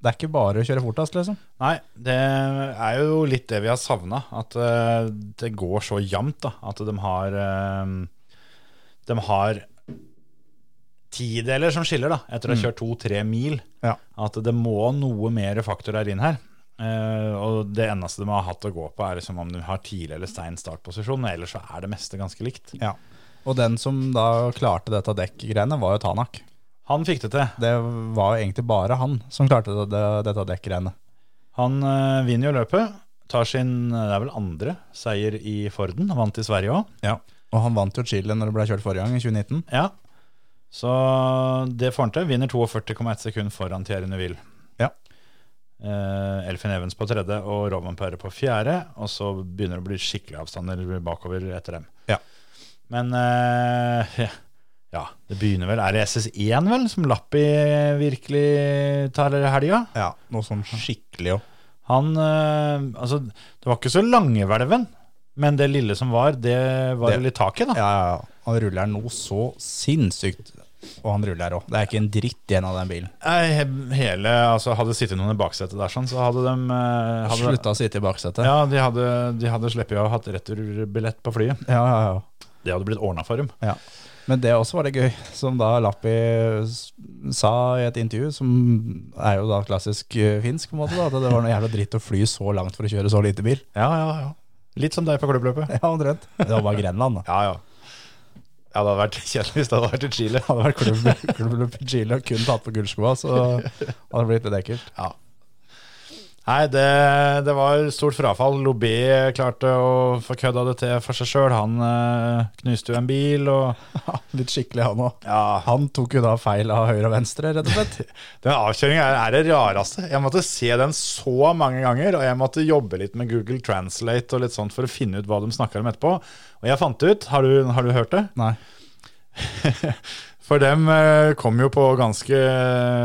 Speaker 3: Det er ikke bare å kjøre fortest, liksom.
Speaker 2: Nei, det er jo litt det vi har savna. At eh, det går så jevnt. da, At de har eh, De har tideler som skiller, da, etter å ha kjørt to-tre mil.
Speaker 3: Ja.
Speaker 2: At det må noe mer faktorer inn her. Eh, og det eneste de har hatt å gå på, er liksom om de har tidlig eller stein startposisjon. Ellers så er det meste ganske likt.
Speaker 3: Ja. Og den som da klarte dette dekkgreiene, var jo Tanak.
Speaker 2: Han fikk det til.
Speaker 3: Det var jo egentlig bare han som klarte det, det, dette dekkgreiene.
Speaker 2: Han eh, vinner jo løpet. Tar sin eh, det er vel andre seier i Forden. Vant i Sverige òg.
Speaker 3: Og han vant jo Chile når det ble kjørt forrige gang, i 2019.
Speaker 2: Ja. Så det får han til. Vinner 42,1 sekund foran Thierry Neville.
Speaker 3: Ja.
Speaker 2: Eh, Elfin Evans på tredje og Roman Perre på fjerde. Og så begynner det å bli skikkelig avstander bakover etter dem.
Speaker 3: Ja.
Speaker 2: Men eh, ja, ja, det begynner vel Er det SS1 vel som Lappi virkelig tar helga?
Speaker 3: Ja, Noe sånn skikkelig òg.
Speaker 2: Han eh, Altså, det var ikke så langehvelven, men det lille som var, det var
Speaker 3: Det-
Speaker 2: det litt tak i, da.
Speaker 3: Ja, ja, ja. Han ruller nå så sinnssykt. Og han ruller òg. Det er ikke en dritt igjen av den bilen.
Speaker 2: Nei, he- hele, altså Hadde sittet noen i baksetet der, sånn, så hadde de eh, hadde,
Speaker 3: Slutta å sitte i baksetet.
Speaker 2: Ja, de hadde, de hadde sluppet å ha hatt returbillett på flyet.
Speaker 3: Ja, ja, ja.
Speaker 2: Det hadde blitt ordna for dem.
Speaker 3: Men det også var det gøy, som da Lappi s- sa i et intervju, som er jo da klassisk eh, finsk, på en måte, da, at det var noe jævla dritt å fly så langt for å kjøre så lite bil.
Speaker 2: Ja, ja, ja. Litt som deg på klubbløpet.
Speaker 3: Ja, omtrent. Det var bare Grenland, da.
Speaker 2: Ja, ja. Ja, Det hadde vært kjedelig hvis det hadde vært i Chile.
Speaker 3: Hadde vært klubb- klubb i Chile og kun tatt på gullskoa, så hadde det blitt litt ekkelt.
Speaker 2: Ja. Nei, det, det var stort frafall. Lobé klarte å få kødda det til for seg sjøl. Han eh, knuste jo en bil, og
Speaker 3: Litt skikkelig, han òg.
Speaker 2: ja,
Speaker 3: Han tok jo da feil av høyre og venstre, rett og slett.
Speaker 2: Den avkjøringa er, er det rareste. Jeg måtte se den så mange ganger, og jeg måtte jobbe litt med Google Translate og litt sånt for å finne ut hva de snakker om etterpå. Og jeg fant ut, har du, har du hørt det?
Speaker 3: Nei.
Speaker 2: For dem eh, kom jo på ganske,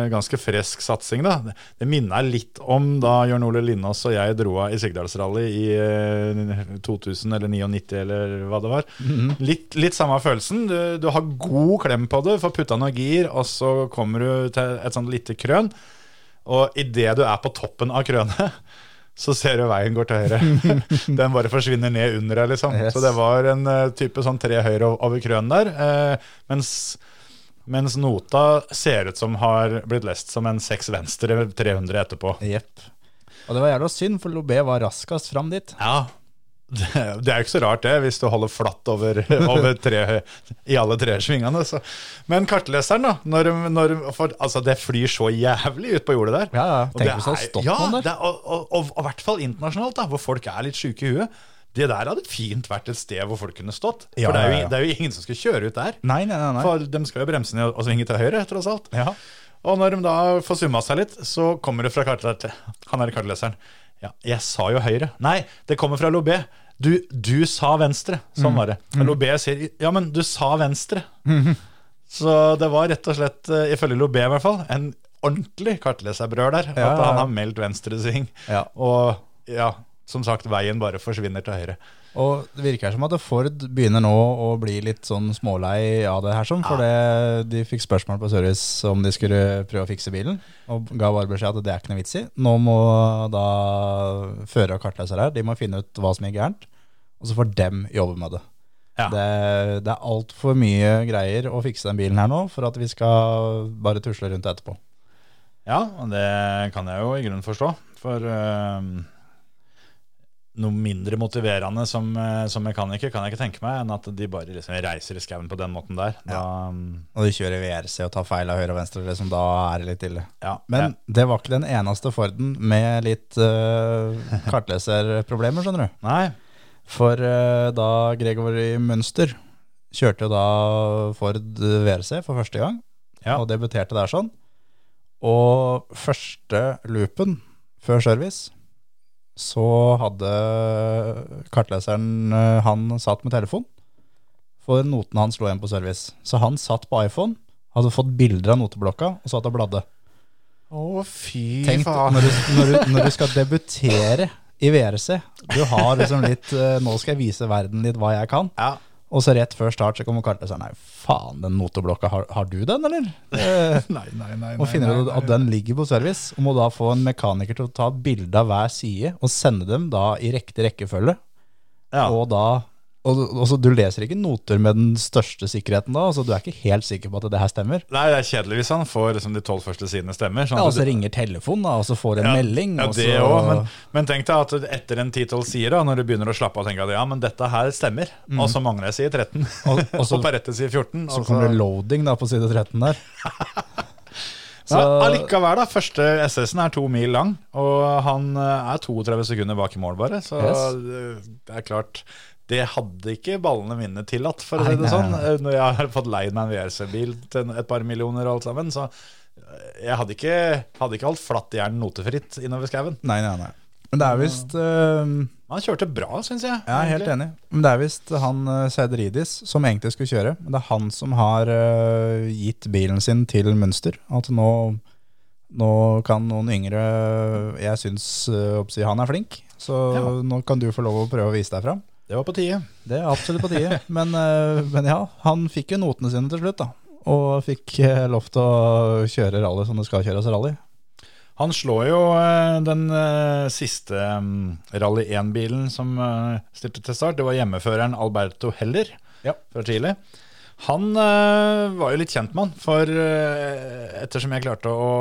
Speaker 2: ganske fresk satsing, da. Det minna litt om da Jørn Ole Lindås og jeg dro av i Sigdalsrally i eh, 2000 eller 99 eller hva det var. Litt, litt samme følelsen. Du, du har god klem på det, får putta noe gir, og så kommer du til et sånt lite krøn. Og idet du er på toppen av krønet, så ser du veien går til høyre. Den bare forsvinner ned under deg, liksom.
Speaker 3: Yes.
Speaker 2: Så det var en eh, type sånn tre høyre ov- over krønen der. Eh, mens, mens nota ser ut som har blitt lest som en seks venstre 300 etterpå.
Speaker 3: Jepp. Og det var jævla synd, for Lobé var raskest fram dit.
Speaker 2: Ja. Det, det er jo ikke så rart, det, hvis du holder flatt over, over tre, i alle tre svingene. Så. Men kartleseren, da. Når, de- når, de- for, altså, det flyr så jævlig ut på jordet der.
Speaker 3: Ja, ja.
Speaker 2: Og
Speaker 3: Tenk
Speaker 2: det
Speaker 3: hvis det hadde
Speaker 2: er-
Speaker 3: stått
Speaker 2: ja,
Speaker 3: noen der.
Speaker 2: det er- og, og, og, og i hvert fall internasjonalt, da, hvor folk er litt sjuke i huet. Det der hadde fint vært et sted hvor folk kunne stått.
Speaker 3: Ja,
Speaker 2: for det er,
Speaker 3: ja,
Speaker 2: jo,
Speaker 3: ja.
Speaker 2: ingen- det er jo ingen som skal kjøre ut der.
Speaker 3: Nei, nei, nei. nei.
Speaker 2: For de skal jo bremse ned og svinge til høyre, tross alt.
Speaker 3: Ja.
Speaker 2: Og når de da får summa seg litt, så kommer det fra kartleser- han er kartleseren. Ja, jeg sa jo høyre. Nei, det kommer fra Lobé. Du, du sa venstre. Sånn
Speaker 3: Mm.
Speaker 2: var det. Lobé sier ja, men du sa venstre.
Speaker 3: Mhm.
Speaker 2: Så det var rett og slett, eh, ifølge Lobé i hvert fall, en ordentlig kartleserbrøl der.
Speaker 3: Ja,
Speaker 2: at
Speaker 3: ja,
Speaker 2: han
Speaker 3: ja.
Speaker 2: har meldt venstresving.
Speaker 3: Ja.
Speaker 2: Og ja, som sagt, veien bare forsvinner til høyre.
Speaker 3: Og det virker som at Ford begynner nå å bli litt sånn smålei av det her, sånn, for det- de fikk spørsmål på service om de skulle prøve å fikse bilen, og ga bare beskjed at det er ikke noe vits i. Nå må da fører og kartleser her, de må finne ut hva som gikk gærent, og så får dem jobbe med det.
Speaker 2: Ja.
Speaker 3: Det, det er altfor mye greier å fikse den bilen her nå, for at vi skal bare tusle rundt etterpå.
Speaker 2: Ja, og det kan jeg jo i grunnen forstå. For øhm, noe mindre motiverende som, eh, som mekaniker kan jeg ikke tenke meg enn at de bare liksom reiser i skauen på den måten der. Da, ehm, øhm,
Speaker 3: Og de kjører VRC og tar feil av høyre og venstre, liksom, da er det litt ille.
Speaker 2: ja,
Speaker 3: Men
Speaker 2: ja.
Speaker 3: det var ikke den eneste Forden med litt eh, kartleserproblemer, skjønner du.
Speaker 2: Nei.
Speaker 3: For eh, da Gregor i Mønster kjørte jo da Ford VRC for første gang,
Speaker 2: Ja.
Speaker 3: og debuterte der sånn. Og første loopen før service, så hadde kartleseren eh, han satt med telefon, for noten hans lå igjen på service. Så han satt på iPhone, hadde fått bilder av noteblokka, og satt og bladde.
Speaker 2: Å, fy
Speaker 3: Tenk når du, når, du, når du skal debutere i VRC. Du har liksom litt eh, Nå skal jeg vise verden litt hva jeg kan.
Speaker 2: Ja.
Speaker 3: Og så rett før start så kommer Kartles og sier nei, faen, den noteblokka, har, har du den, eller? Eh,
Speaker 2: Nei, nei, nei.
Speaker 3: og finner ut at den ligger på service, og må da få en mekaniker til å ta bilde av hver side og sende dem da i riktig rekkefølge.
Speaker 2: Ja.
Speaker 3: Og da og, og så Du leser ikke noter med den største sikkerheten da, så du er ikke helt sikker på at det her stemmer.
Speaker 2: Nei, det er kjedelig hvis han får liksom de tolv første sidene stemmer. Sånn
Speaker 3: Ja,
Speaker 2: at
Speaker 3: og så
Speaker 2: du-
Speaker 3: ringer telefonen, da, og så får du en melding. altså.
Speaker 2: Ja,
Speaker 3: og
Speaker 2: det
Speaker 3: så-
Speaker 2: også, men, men tenk deg at etter en 10-12 sider, da, når du begynner å slappe av og tenke at ja, men dette her stemmer, og så mangler jeg side 13,
Speaker 3: Mhm.
Speaker 2: og, altså-
Speaker 3: Og- og så-
Speaker 2: på rette side 14.
Speaker 3: Så
Speaker 2: og
Speaker 3: kommer det loading da på side 13 der.
Speaker 2: Ja, allikevel, da. Første SS-en er to mil lang, og han eh, er 32 sekunder bak i mål, bare. Så
Speaker 3: Yes.
Speaker 2: eh, det er klart Det hadde ikke ballene mine tillatt, for å
Speaker 3: Nei,
Speaker 2: si det
Speaker 3: nei,
Speaker 2: sånn.
Speaker 3: nei.
Speaker 2: Eh, Når jeg har fått leid meg en VRC-bil til et par millioner og alt sammen, så eh, jeg hadde ikke, hadde ikke holdt flatt jern notefritt innover skauen.
Speaker 3: Nei, nei, nei. Men det er visst eh,
Speaker 2: Men han kjørte bra, syns jeg.
Speaker 3: Jeg er helt
Speaker 2: egentlig.
Speaker 3: enig. Men det er visst han eh, Seideridis som egentlig skulle kjøre. Men det er han som har eh, gitt bilen sin til Mønster. At nå, nå kan noen yngre Jeg syns eh, oppsi, han er flink, så
Speaker 2: Ja.
Speaker 3: nå kan du få lov å prøve å vise deg fram.
Speaker 2: Det var på tide.
Speaker 3: Det er absolutt på tide. men, eh, men ja, han fikk jo notene sine til slutt, da. Og fikk eh, lov til å kjøre rally som det skal kjøres rally.
Speaker 2: Han slår jo eh, den eh, siste mm, Rally 1-bilen som eh, stilte til start. Det var hjemmeføreren Alberto Heller
Speaker 3: Ja.
Speaker 2: fra Chile. Han eh, var jo litt kjent med han, for eh, ettersom jeg klarte å,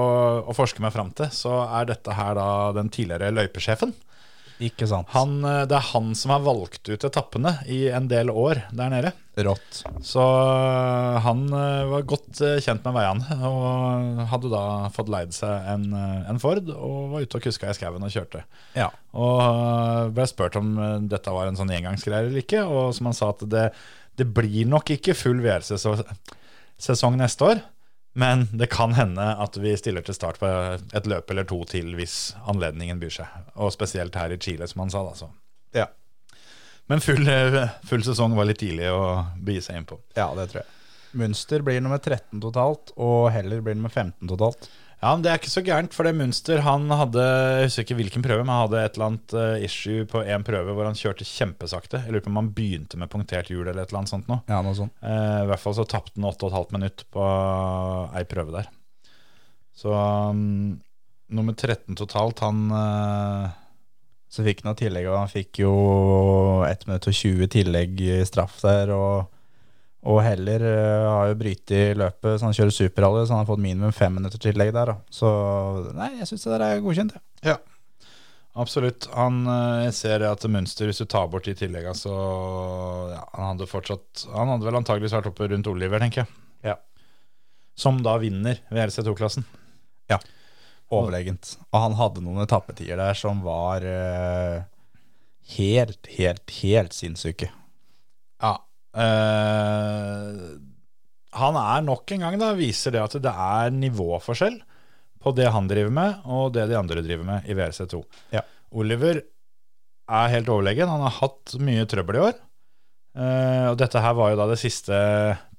Speaker 2: å forske meg fram til, så er dette her da den tidligere løypesjefen.
Speaker 3: Ikke sant?
Speaker 2: Han, eh, det er han som har valgt ut etappene i en del år der nede.
Speaker 3: Rått.
Speaker 2: Så øh, han øh, var godt øh, kjent med veiene, og hadde da fått leid seg en, øh, en Ford, og var ute og kuska i skauen og kjørte.
Speaker 3: Ja.
Speaker 2: Og øh, ble spurt om øh, dette var en sånn engangsgreie eller ikke, og som han sa at det, det blir nok ikke full VR-sesong neste år, men det kan hende at vi stiller til start på et løp eller to til hvis anledningen byr seg. Og spesielt her i Chile, som han sa. da, så.
Speaker 3: Ja.
Speaker 2: Men full, øh, full sesong var litt tidlig å begi seg inn på.
Speaker 3: Ja, det tror jeg. Mønster blir nummer 13 totalt, og Heller blir nummer 15 totalt.
Speaker 2: Ja, men Det er ikke så gærent, for det Munster han hadde jeg husker ikke hvilken prøve, men han hadde et eller annet eh, issue på en prøve hvor han kjørte kjempesakte. Jeg lurer på om han begynte med punktert hjul eller et eller annet sånt noe.
Speaker 3: Ja, noe sånt.
Speaker 2: Eh, I hvert fall så tapte han 8,5 minutt på ei prøve der. Så mm, nummer 13 totalt, han eh,
Speaker 3: Så fikk han noe tillegg, og han fikk jo 1 minutt og 20 tillegg i straff der, og, og Heller eh, har jo brytt i løpet, så han kjører superrally, så han har fått minimum 5 minutter tillegg der, da. Så nei, jeg syns det der er godkjent, jeg.
Speaker 2: Absolutt. Han, eh, jeg ser at Munster, hvis du tar bort de tillegga, så ja, han hadde fortsatt Han hadde vel antageligvis vært oppe rundt Oliver, tenker jeg.
Speaker 3: Ja.
Speaker 2: Som da vinner ved LC2-klassen.
Speaker 3: Overlegent. Og han hadde noen etappetider der som var eh, helt, helt, helt sinnssyke.
Speaker 2: Ja. eh, han er nok en gang da, viser det at det er nivåforskjell på det han driver med, og det de andre driver med i VRC2.
Speaker 3: Ja.
Speaker 2: Oliver er helt overlegen. Han har hatt mye trøbbel i år. Eh, og dette her var jo da det siste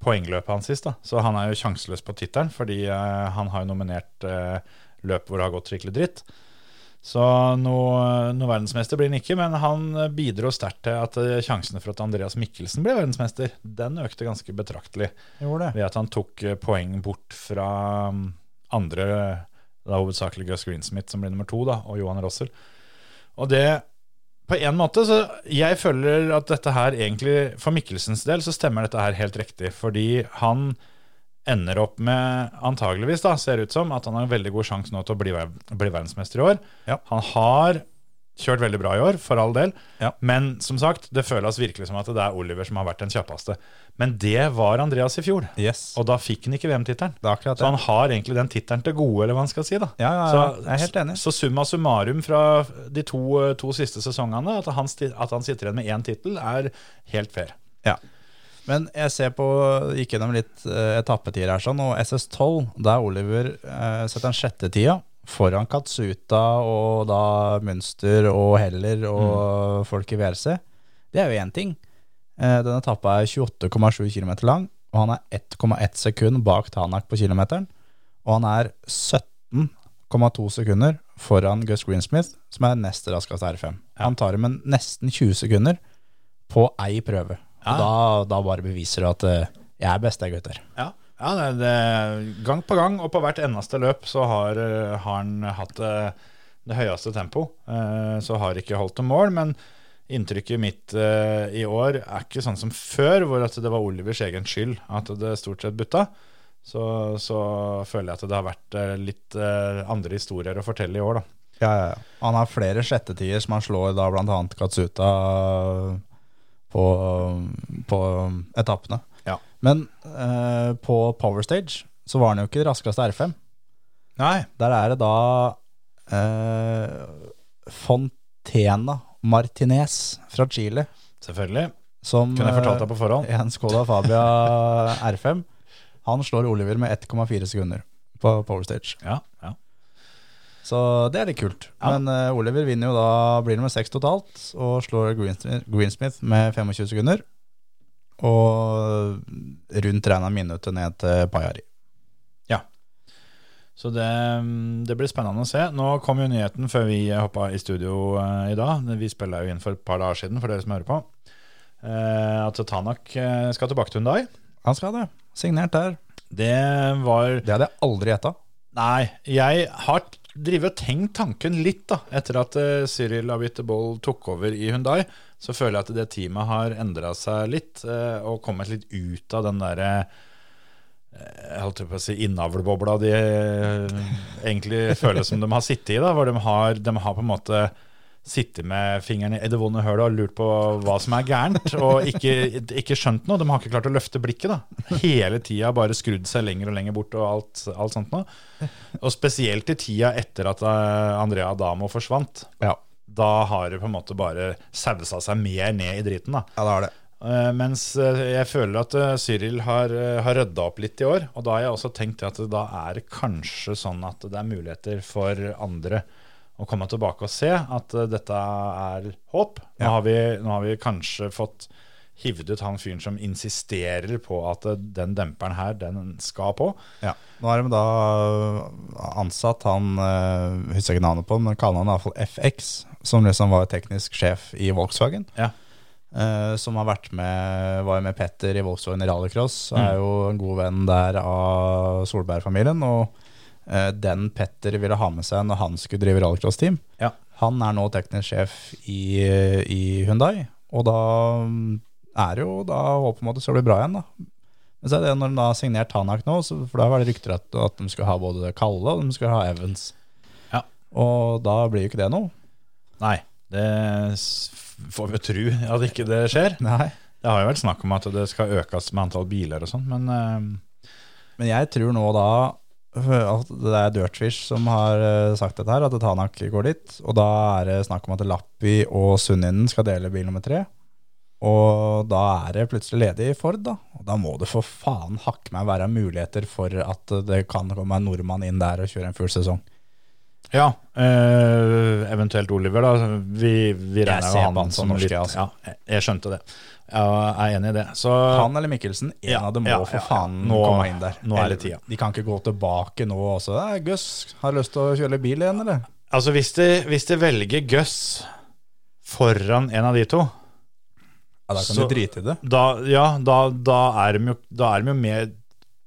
Speaker 2: poengløpet hans sist, da. så han er jo sjanseløs på tittelen, fordi eh, han har jo nominert eh, løp hvor det har gått skikkelig dritt. Så noe, noe verdensmester blir han ikke, men han bidro sterkt til at eh, sjansene for at Andreas Mikkelsen ble verdensmester, den økte ganske betraktelig
Speaker 3: Gjorde det.
Speaker 2: ved at han tok eh, poeng bort fra mm, andre, da hovedsakelig Gus Greensmith, som ble nummer to, da, og Johan Rossel. Og det på en måte, så Jeg føler at dette her egentlig, for Mikkelsens del, så stemmer dette her helt riktig. Fordi han ender opp med, antageligvis da, ser ut som, at han har en veldig god sjanse nå til å bli, ver- bli verdensmester i år.
Speaker 3: Ja.
Speaker 2: Han har kjørt veldig bra i år, for all del.
Speaker 3: Ja.
Speaker 2: Men som sagt, det føles virkelig som at det er Oliver som har vært den kjappeste. Men det var Andreas i fjor.
Speaker 3: Yes.
Speaker 2: Og da fikk han ikke VM-tittelen.
Speaker 3: Det er akkurat
Speaker 2: Så
Speaker 3: det.
Speaker 2: han har egentlig den tittelen til gode, eller hva han skal si. da.
Speaker 3: Ja, ja, ja.
Speaker 2: Så-
Speaker 3: Jeg er helt enig.
Speaker 2: Så summa summarum fra de to, eh, to siste sesongene, at han, sti- at han sitter igjen med én tittel, er helt fair.
Speaker 3: Ja. Men jeg ser på, gikk gjennom litt uh, etappetider her, sånn, og SS12, der Oliver eh, setter den sjette tida foran Katsuta og da Münster og Heller og folk i VRC. Det er jo én ting. Eh, den etappa er 28,7 km lang, og han er 1,1 sekund bak Tanak på kilometeren. Og han er 17,2 sekunder foran Gus Greensmith, som er nest raskest R5. Han tar med nesten 20 sekunder på ei prøve. Og Da, da bare beviser du at eh, jeg er best, jeg, gutter.
Speaker 2: Ja, det, det, Gang på gang og på hvert eneste løp så har, eh, har han hatt eh, det høyeste tempo. Eh, Så har ikke holdt til mål, men inntrykket mitt eh, i år er ikke sånn som før, hvor at det var Olivers egen skyld at det stort sett butta. Så, så føler jeg at det har vært eh, litt eh, andre historier å fortelle i år, da.
Speaker 3: Ja, ja, ja. Han har flere sjettetider som han slår da blant annet Katsuta på, på etappene.
Speaker 2: Ja.
Speaker 3: Men eh, på Power Stage så var han jo ikke det raskeste R5.
Speaker 2: Nei.
Speaker 3: Der er det da eh, Fontena Martinez fra Chile
Speaker 2: Selvfølgelig.
Speaker 3: som eh,
Speaker 2: Kunne jeg fortalt deg på forhånd.
Speaker 3: en Skoda Fabia R5. Han slår Oliver med 1,4 sekunder på Power Stage.
Speaker 2: Ja, ja.
Speaker 3: Så det er litt kult.
Speaker 2: Ja.
Speaker 3: Men eh, Oliver vinner jo da, blir nummer seks totalt, og slår Greensmith, Greensmith med 25 sekunder. Og rundt regna minuttet ned til Pajari.
Speaker 2: Så det, mm, det blir spennende å se. Nå kom jo nyheten før vi hoppa i studio eh, i dag. Vi spilla jo inn for et par dager siden, for dere som hører på. Eh, at Tanak eh, skal tilbake til Hundai.
Speaker 3: Han skal det. Signert der.
Speaker 2: Det var
Speaker 3: Det hadde jeg aldri gjetta.
Speaker 2: Nei, jeg har drivet og tenkt tanken litt, da. Etter at eh, Cyril Abiteboll tok over i Hundai, så føler jeg at det teamet har endra seg litt, eh, og kommet litt ut av den derre jeg holdt på å si innavlbobla de eh, egentlig føles som de har sittet i, da, hvor de har, de har på en måte sittet med fingeren i det vonde hølet og lurt på hva som er gærent, og ikke, ikke skjønt noe. De har ikke klart å løfte blikket. da. Hele tida bare skrudd seg lenger og lenger bort og alt, alt sånt noe. Og spesielt i tida etter at eh, Andrea Adamo forsvant.
Speaker 3: Ja.
Speaker 2: Da har det på en måte bare sausa seg mer ned i driten. da.
Speaker 3: ja, det har det.
Speaker 2: Eh, mens eh, jeg føler at eh, Cyril har, eh, har rydda opp litt i år. Og da har jeg også tenkt at det da er det kanskje sånn at det er muligheter for andre å komme tilbake og se at eh, dette er håp. Nå,
Speaker 3: Ja.
Speaker 2: har vi, nå har vi kanskje fått hivd ut han fyren som insisterer på at eh, den demperen her, den skal på.
Speaker 3: Ja. Nå har de da øh, ansatt han øh, Husker jeg ikke navnet på, men kaller han i hvert fall FX, som liksom var teknisk sjef i Volkswagen.
Speaker 2: Ja.
Speaker 3: Eh, som har vært med, var jo med Petter i Volkswagen i rallycross.
Speaker 2: Mm.
Speaker 3: Er jo en god venn der av Solberg-familien. Og eh, den Petter ville ha med seg når han skulle drive rallycross-team,
Speaker 2: Ja.
Speaker 3: han er nå teknisk sjef i, i Hyundai. Og da mm, er det jo da håpet om at det skal bli bra igjen, da. Men så er det når de da har signert Tanak nå, så, for da var det rykter at, at de skulle ha både Kalle og de skulle ha Evans.
Speaker 2: Ja.
Speaker 3: Og da blir jo ikke det noe.
Speaker 2: Nei, det s- får vi tro at ikke det skjer.
Speaker 3: Nei.
Speaker 2: Det har jo vært snakk om at det skal økes med antall biler og sånn, men eh,
Speaker 3: Men jeg tror nå da at det er Dirtfish som har eh, sagt dette her, at Tanak går dit. Og da er det snakk om at Lappi og Sunninen skal dele bil nummer tre. Og da er det plutselig ledig i Ford, da. Og da må det for faen hakke meg være muligheter for at det kan komme en nordmann inn der og kjøre en full sesong.
Speaker 2: Ja, eh, eventuelt Oliver, da. Vi, vi regner
Speaker 3: ser på
Speaker 2: jo han
Speaker 3: han som
Speaker 2: som
Speaker 3: norsk,
Speaker 2: litt
Speaker 3: jeg, altså.
Speaker 2: Ja, jeg- jeg skjønte det. Jeg er enig i det. Så
Speaker 3: Han eller Mikkelsen, en
Speaker 2: Ja,
Speaker 3: av dem må
Speaker 2: ja, ja,
Speaker 3: for
Speaker 2: ja.
Speaker 3: faen
Speaker 2: Nå-
Speaker 3: komme inn der.
Speaker 2: nå er det
Speaker 3: Eller,
Speaker 2: tida.
Speaker 3: De kan ikke gå tilbake nå også. Eh, Gus, har du lyst til å kjøre bil igjen, eller?
Speaker 2: altså, hvis de, hvis de velger Gus foran en av de to,
Speaker 3: Ja, Da kan
Speaker 2: Så-
Speaker 3: du drite i det.
Speaker 2: da, ja, da, da, er de jo, da er de jo med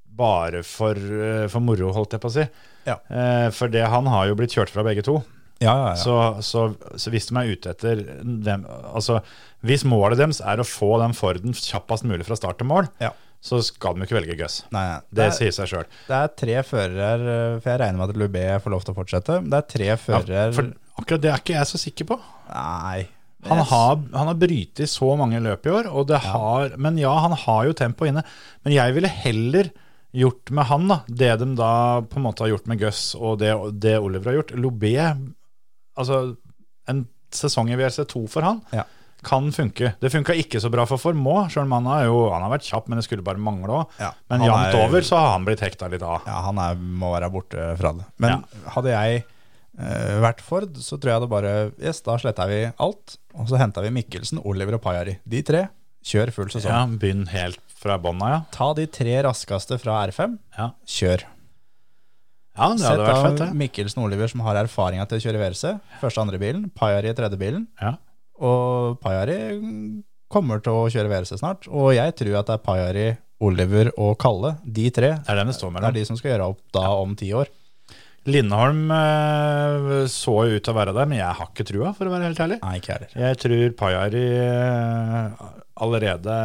Speaker 2: bare for, eh, for moro, holdt jeg på å si.
Speaker 3: Ja.
Speaker 2: Eh, for det, han har jo blitt kjørt fra begge to.
Speaker 3: Ja, ja, ja.
Speaker 2: Så, så, så hvis de er ute etter dem, altså, Hvis målet deres er å få den Forden kjappest mulig fra start til mål,
Speaker 3: Ja.
Speaker 2: så skal de jo ikke velge Gus.
Speaker 3: Nei, nei.
Speaker 2: Det
Speaker 3: er-
Speaker 2: sier seg sjøl.
Speaker 3: Det er tre førere her, eh, for jeg regner med at Lubé får lov til å fortsette. Det er tre førere her-
Speaker 2: For akkurat det er ikke jeg så sikker på.
Speaker 3: Nei.
Speaker 2: Han
Speaker 3: Jeg-
Speaker 2: har, han har brytet i så mange løp i år, og det har, men ja, han har jo tempo inne. Men jeg ville heller gjort med han da, det de da på en måte har gjort med Gus og det, det Oliver har gjort. Lobé, altså en sesong i VRC2 for han,
Speaker 3: Ja.
Speaker 2: kan funke. Det funka ikke så bra for Formå, sjøl om han har, jo, han har vært kjapp, men det skulle bare mangle òg.
Speaker 3: Ja,
Speaker 2: Men
Speaker 3: han
Speaker 2: jevnt
Speaker 3: er-
Speaker 2: over så har han blitt hekta litt av.
Speaker 3: Ja, han er, må være borte fra det. Men hadde jeg eh, vært Ford, så tror jeg det bare Yes, da sletta vi alt. Og så henta vi Mikkelsen, Oliver og Pajari. De tre. Kjør full sesong.
Speaker 2: Ja, Begynn helt fra bånn av, ja.
Speaker 3: Ta de tre raskeste fra R5.
Speaker 2: Ja.
Speaker 3: Kjør.
Speaker 2: ja. Det
Speaker 3: Sett
Speaker 2: hadde vært fett,
Speaker 3: av
Speaker 2: det.
Speaker 3: Mikkelsen og Oliver, som har erfaringa til å kjøre VRC. Første andre bilen. Pajari i tredje bilen.
Speaker 2: Ja.
Speaker 3: Og Pajari kommer til å kjøre VRC snart. Og jeg tror at det er Pajari, Oliver og Kalle, de tre,
Speaker 2: Det er den det står
Speaker 3: det
Speaker 2: mellom.
Speaker 3: er de som skal gjøre opp da om ti år.
Speaker 2: Lindholm eh, så jo ut til å være der, men jeg har ikke trua, for å være helt ærlig.
Speaker 3: Nei, ikke jeg heller.
Speaker 2: Jeg tror Pajari eh, allerede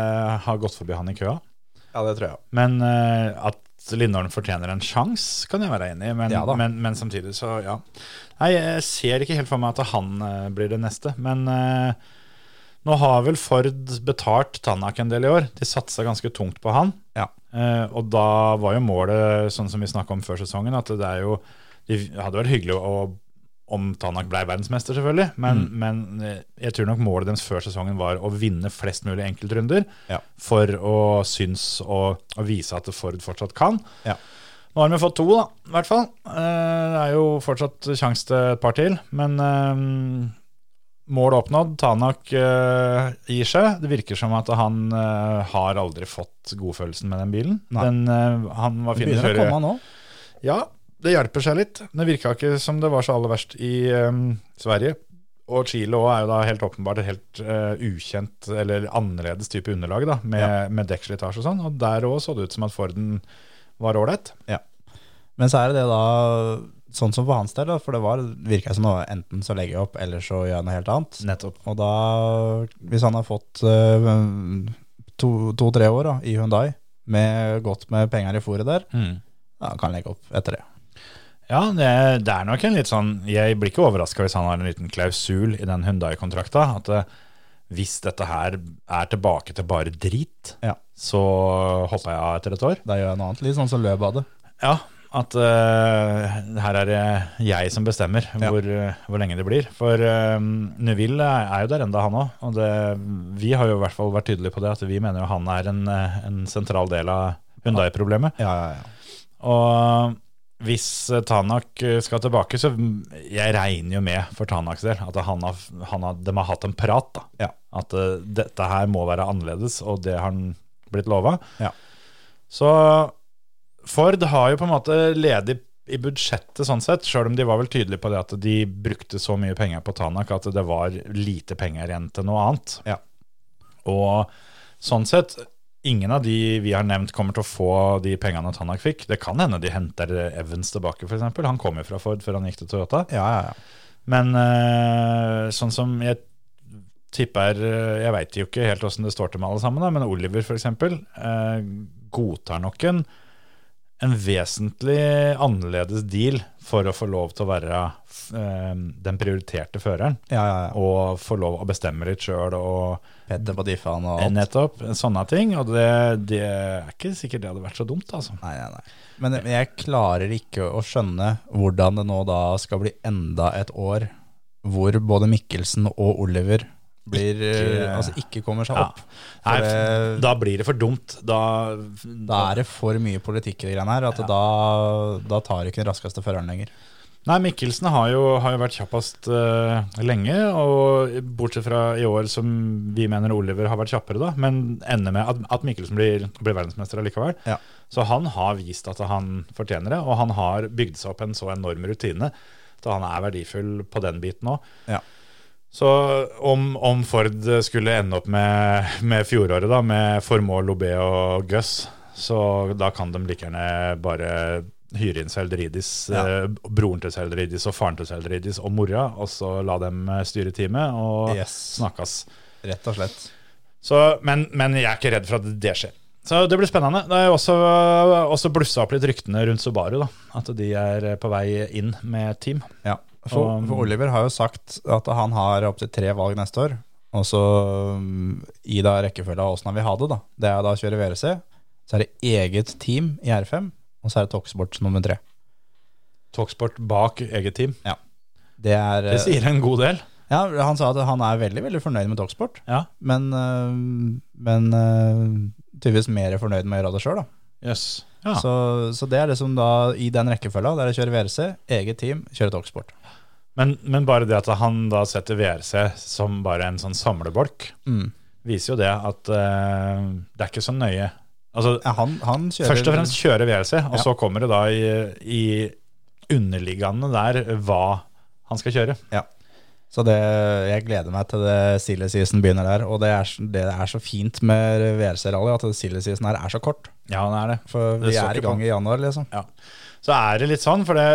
Speaker 2: har gått forbi han i køa.
Speaker 3: Ja, det tror jeg.
Speaker 2: Men eh, at Lindholm fortjener en sjanse, kan jeg være enig i. Men,
Speaker 3: Ja da.
Speaker 2: men, men samtidig, så ja. Nei, jeg ser ikke helt for meg at han eh, blir det neste. Men eh, nå har vel Ford betalt Tanak en del i år. De satsa ganske tungt på han.
Speaker 3: Ja.
Speaker 2: Eh, og da var jo målet, sånn som vi snakka om før sesongen, at det er jo Det hadde vært hyggelig å, om Tanak ble verdensmester, selvfølgelig, men, men eh, jeg tror nok målet deres før sesongen var å vinne flest mulig enkeltrunder
Speaker 3: Ja.
Speaker 2: for å synes og, og vise at Ford fortsatt kan.
Speaker 3: Ja.
Speaker 2: Nå har de jo fått to, da, i hvert fall. Eh, Det er jo fortsatt sjanse til et par til, men eh, Mål oppnådd, Tanak eh, gir seg. Det virker som at han eh, har aldri fått godfølelsen med den bilen.
Speaker 3: Nei.
Speaker 2: Den, eh, han var fin å
Speaker 3: Begynner å
Speaker 2: kjøre.
Speaker 3: komme nå.
Speaker 2: Ja, det hjelper seg litt. Det virka ikke som det var så aller verst i eh, Sverige. Og Chile også er jo da helt åpenbart et helt eh, ukjent eller annerledes type underlag da, med, med dekkslitasje og sånn. Og der òg så det ut som at Forden var ålreit.
Speaker 3: Men så er det det da Sånn som på hans del, da, for det var, virka som noe enten så legger jeg opp, eller så gjør jeg noe helt annet.
Speaker 2: Nettopp.
Speaker 3: Og da, hvis han har fått eh, to- to-tre år da, i Hyundai, med godt med penger i fôret der,
Speaker 2: Mm.
Speaker 3: ja, han kan legge opp etter det.
Speaker 2: Ja, det, det er nok en litt sånn Jeg blir ikke overraska hvis han har en liten klausul i den Hundai-kontrakta. At eh, hvis dette her er tilbake til bare drit,
Speaker 3: Ja.
Speaker 2: så hopper jeg av etter et år.
Speaker 3: Da gjør jeg noe annet, litt sånn som løp hadde.
Speaker 2: Ja, at eh, her er det jeg som bestemmer
Speaker 3: Ja.
Speaker 2: hvor, eh, hvor lenge det blir. For eh, Neville er jo der enda, han òg. Og det, vi har jo i hvert fall vært tydelige på det, at vi mener jo han er en, eh, en sentral del av Hundai-problemet.
Speaker 3: Ja, ja, ja.
Speaker 2: Og hvis eh, Tanak eh, skal tilbake, så mm, jeg regner jo med for Tanaks del at han har, han har, de har hatt en prat. da.
Speaker 3: Ja.
Speaker 2: At eh, dette her må være annerledes, og det har han blitt lova.
Speaker 3: Ja.
Speaker 2: Så Ford har jo på en måte ledig i budsjettet, sånn sett, sjøl om de var vel tydelige på det at de brukte så mye penger på Tanak at det var lite penger igjen til noe annet.
Speaker 3: Ja.
Speaker 2: Og sånn sett Ingen av de vi har nevnt kommer til å få de pengene Tanak fikk. Det kan hende de henter eh, Evans tilbake, f.eks. Han kom jo fra Ford før han gikk til Toyota.
Speaker 3: ja, ja, ja.
Speaker 2: Men eh, sånn som jeg tipper eh, Jeg veit jo ikke helt åssen det står til med alle sammen, da, men Oliver f.eks. Uh, godtar nok en, en vesentlig annerledes deal for å få lov til å være eh, den prioriterte føreren.
Speaker 3: ja, ja, ja.
Speaker 2: Og få lov å bestemme litt sjøl og
Speaker 3: Petter på diffaen og alt.
Speaker 2: nettopp sånne ting. Og det, det er ikke sikkert det hadde vært så dumt, altså.
Speaker 3: Nei, nei, nei. Men jeg klarer ikke å skjønne hvordan det nå da skal bli enda et år hvor både Mikkelsen og Oliver blir,
Speaker 2: Ikke-
Speaker 3: eh, altså ikke kommer seg
Speaker 2: Ja.
Speaker 3: opp.
Speaker 2: Nei,
Speaker 3: det-
Speaker 2: da blir det for dumt. Da,
Speaker 3: Da er det for mye politikk i de greiene her, at da, da tar ikke den raskeste føreren lenger.
Speaker 2: Nei, Mikkelsen har jo, har jo vært kjappest eh, lenge, og bortsett fra i år som vi mener Oliver har vært kjappere, da, men ender med at, at Mikkelsen blir, blir verdensmester allikevel.
Speaker 3: Ja.
Speaker 2: Så han har vist at han fortjener det, og han har bygd seg opp en så enorm rutine. Så han er verdifull på den biten òg.
Speaker 3: Ja.
Speaker 2: Så om, om Ford skulle ende opp med, med fjoråret, da, med Formor, Lobé og Guss, så da kan de like gjerne bare hyre inn Selderidis,
Speaker 3: Ja.
Speaker 2: eh, broren til Selderidis og faren til Selderidis og mora, og så la dem eh, styre teamet og
Speaker 3: Yes.
Speaker 2: snakkes.
Speaker 3: Rett og slett.
Speaker 2: Så, men, men jeg er ikke redd for at det skjer. Så det blir spennende. Det er jo også, også blussa opp litt ryktene rundt Subaru, da. At de er på vei inn med team.
Speaker 3: Ja. For,
Speaker 2: Og-
Speaker 3: for Oliver har jo sagt at han har opptil tre valg neste år. Og så um, i da rekkefølga åssen han vil ha det, da. Det er da å kjøre VRC. Så er det eget team i R5, og så er det Toxport nummer tre.
Speaker 2: Talksport bak eget team.
Speaker 3: Det er eh,
Speaker 2: Det sier en god del.
Speaker 3: Ja, han sa at han er veldig, veldig fornøyd med Toxport,
Speaker 2: Ja.
Speaker 3: men, øh, men øh, tydeligvis mer fornøyd med å gjøre det sjøl, da.
Speaker 2: Jøss. Ja.
Speaker 3: Så, så det er liksom da i den rekkefølga. Det er å kjøre VRC, eget team, kjøre Toxport.
Speaker 2: Men, men bare det at han da setter VRC som bare en sånn samlebolk,
Speaker 3: Mm.
Speaker 2: viser jo det at eh, det er ikke så nøye. Altså,
Speaker 3: Ja, han, han kjører
Speaker 2: Først og fremst kjøre VRC, og
Speaker 3: Ja.
Speaker 2: så kommer det da i, i underliggende der hva han skal kjøre.
Speaker 3: Så det, jeg gleder meg til det silly season begynner der. Og det er, s- det er så fint med VRC-rally at det silly season her er så kort.
Speaker 2: Ja, han er det.
Speaker 3: For
Speaker 2: Det
Speaker 3: vi
Speaker 2: så
Speaker 3: er
Speaker 2: ikke
Speaker 3: i gang
Speaker 2: på.
Speaker 3: i januar, liksom.
Speaker 2: Så er det litt sånn, for det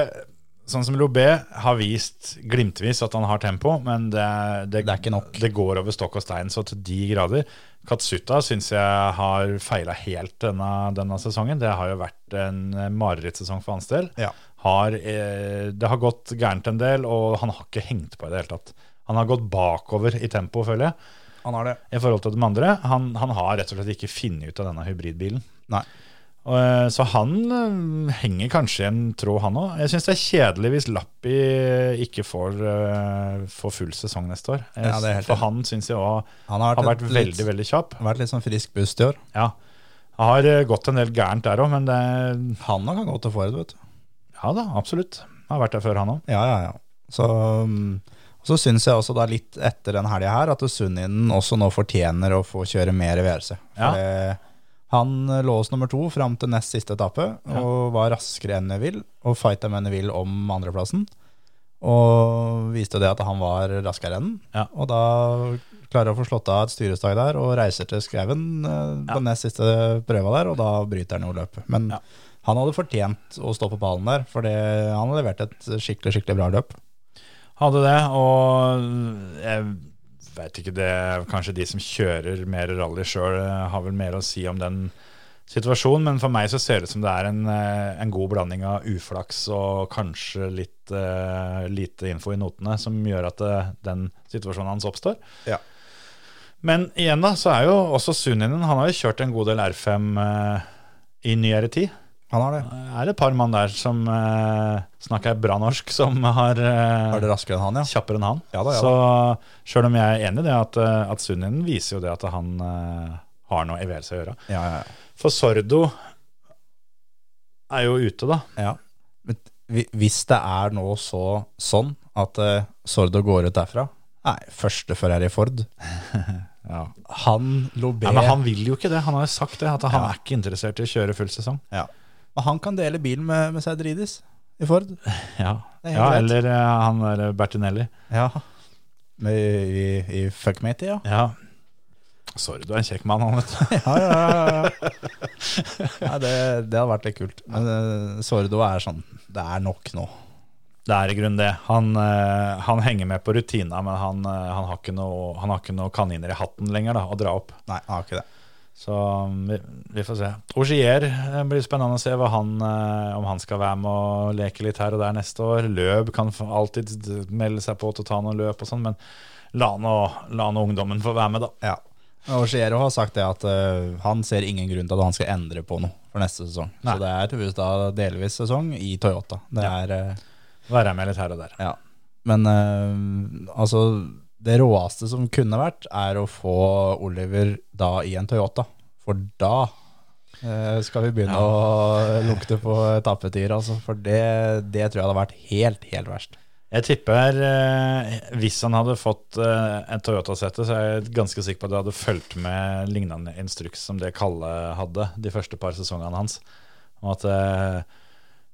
Speaker 2: Sånn som Lobé har vist glimtvis at han har tempo, men det,
Speaker 3: Det er ikke nok.
Speaker 2: det går over stokk og stein så til de grader. Katsuta syns jeg har feila helt denne, denne sesongen. Det har jo vært en marerittsesong for hans del.
Speaker 3: Ja.
Speaker 2: Har, eh, det har gått gærent en del, og han har ikke hengt på i det hele tatt. Han har gått bakover i tempo, føler jeg,
Speaker 3: Han har det.
Speaker 2: i forhold til de andre. Han, han har rett og slett ikke funnet ut av denne hybridbilen.
Speaker 3: Nei.
Speaker 2: Og, eh, Så han eh, henger kanskje i en tråd, han òg. Jeg syns det er kjedelig hvis Lappi ikke får, eh, får full sesong neste år. Jeg-
Speaker 3: Ja, det er helt
Speaker 2: For
Speaker 3: enig.
Speaker 2: han syns jeg òg
Speaker 3: Han har
Speaker 2: har
Speaker 3: vært,
Speaker 2: vært
Speaker 3: et
Speaker 2: veldig,
Speaker 3: litt,
Speaker 2: veldig kjapp.
Speaker 3: vært litt sånn frisk pust i år.
Speaker 2: Ja. Har eh, gått en del gærent der òg, men det
Speaker 3: Han nok kan gå til Ford, vet du.
Speaker 2: Ja da, absolutt. Har vært der før, han òg.
Speaker 3: Ja, ja, ja. Så, um, og så syns jeg også da litt etter den helga her at Sunninen også nå fortjener å få kjøre mer i VRC.
Speaker 2: Ja.
Speaker 3: For det- Han lå oss nummer to fram til nest siste etappe
Speaker 2: Ja.
Speaker 3: og var raskere enn Neville og fighta med Neville om andreplassen. Og viste jo det at han var raskere enn den.
Speaker 2: Ja.
Speaker 3: Og da klarer han å få slått av et styrestak der og reiser til skauen eh, på
Speaker 2: Ja.
Speaker 3: nest siste prøva der, og da bryter han jo løpet. Men
Speaker 2: Ja.
Speaker 3: han hadde fortjent å stå på pallen der, for det, han har levert et skikkelig skikkelig bra løp.
Speaker 2: Hadde det, og jeg veit ikke det Kanskje de som kjører mer rally sjøl, har vel mer å si om den situasjonen, men for meg så ser det ut som det er en, eh, en god blanding av uflaks og kanskje litt eh, lite info i notene som gjør at eh, den situasjonen hans oppstår.
Speaker 3: Ja.
Speaker 2: Men igjen, da, så er jo også Sunninen Han har jo kjørt en god del R5 eh, i nyere tid.
Speaker 3: Han har det.
Speaker 2: Er det et par mann der som eh, snakker bra norsk, som har eh,
Speaker 3: Er det raskere enn han, ja?
Speaker 2: kjappere enn han.
Speaker 3: Ja da, ja
Speaker 2: Så sjøl om jeg er enig i det, at, eh, at Sunninen viser jo det at han eh, har noe i VLC å gjøre.
Speaker 3: Ja, ja, ja.
Speaker 2: For Sordo er jo ute, da.
Speaker 3: ja. Men hvi- hvis det er nå så sånn at eh, Sordo går ut derfra Nei, førstefører i Ford.
Speaker 2: Ja.
Speaker 3: Han Lobé
Speaker 2: Men
Speaker 3: han,
Speaker 2: han vil jo ikke det. Han har jo sagt det, at han er ikke interessert i å kjøre full sesong.
Speaker 3: han kan dele bil med, med Seidridis i Ford.
Speaker 2: Ja,
Speaker 3: Det er helt
Speaker 2: ja
Speaker 3: rett.
Speaker 2: Eller eh, han der Bertinelli.
Speaker 3: Ja. Med, I i fuckmatey, ja.
Speaker 2: Ja. Sordo er en kjekk mann, han, vet du.
Speaker 3: Ja, ja, ja, ja. Nei, det, det hadde vært litt kult. Men eh, Sordo er sånn Det er nok nå.
Speaker 2: Det er i grunnen det. Han, eh, han henger med på rutina, men han, eh, han, har ikke noe, han har ikke noe kaniner i hatten lenger da, å dra opp.
Speaker 3: Nei, han har ikke det.
Speaker 2: Så um, vi, vi får se. Ogier eh, blir spennende å se hva han, eh, om han skal være med og leke litt her og der neste år. Løp kan f- alltid d- melde seg på til å ta noen løp og sånn, men la nå, la nå ungdommen få være med, da.
Speaker 3: Ja. Og Giero har sagt det at eh, han ser ingen grunn til at han skal endre på noe for neste sesong.
Speaker 2: Nei.
Speaker 3: Så det er tydeligvis da delvis sesong i Toyota. Det
Speaker 2: Ja.
Speaker 3: er eh,
Speaker 2: Være med litt her og der.
Speaker 3: Ja. Men eh, altså Det råeste som kunne vært, er å få Oliver da i en Toyota. For da Eh, skal vi begynne å lukte på etappetider, altså. For det, det tror jeg hadde vært helt, helt verst.
Speaker 2: Jeg tipper eh, hvis han hadde fått eh, en Toyota-sete, så er jeg ganske sikker på at det hadde fulgt med lignende instruks som det Kalle hadde de første par sesongene hans. Om at eh,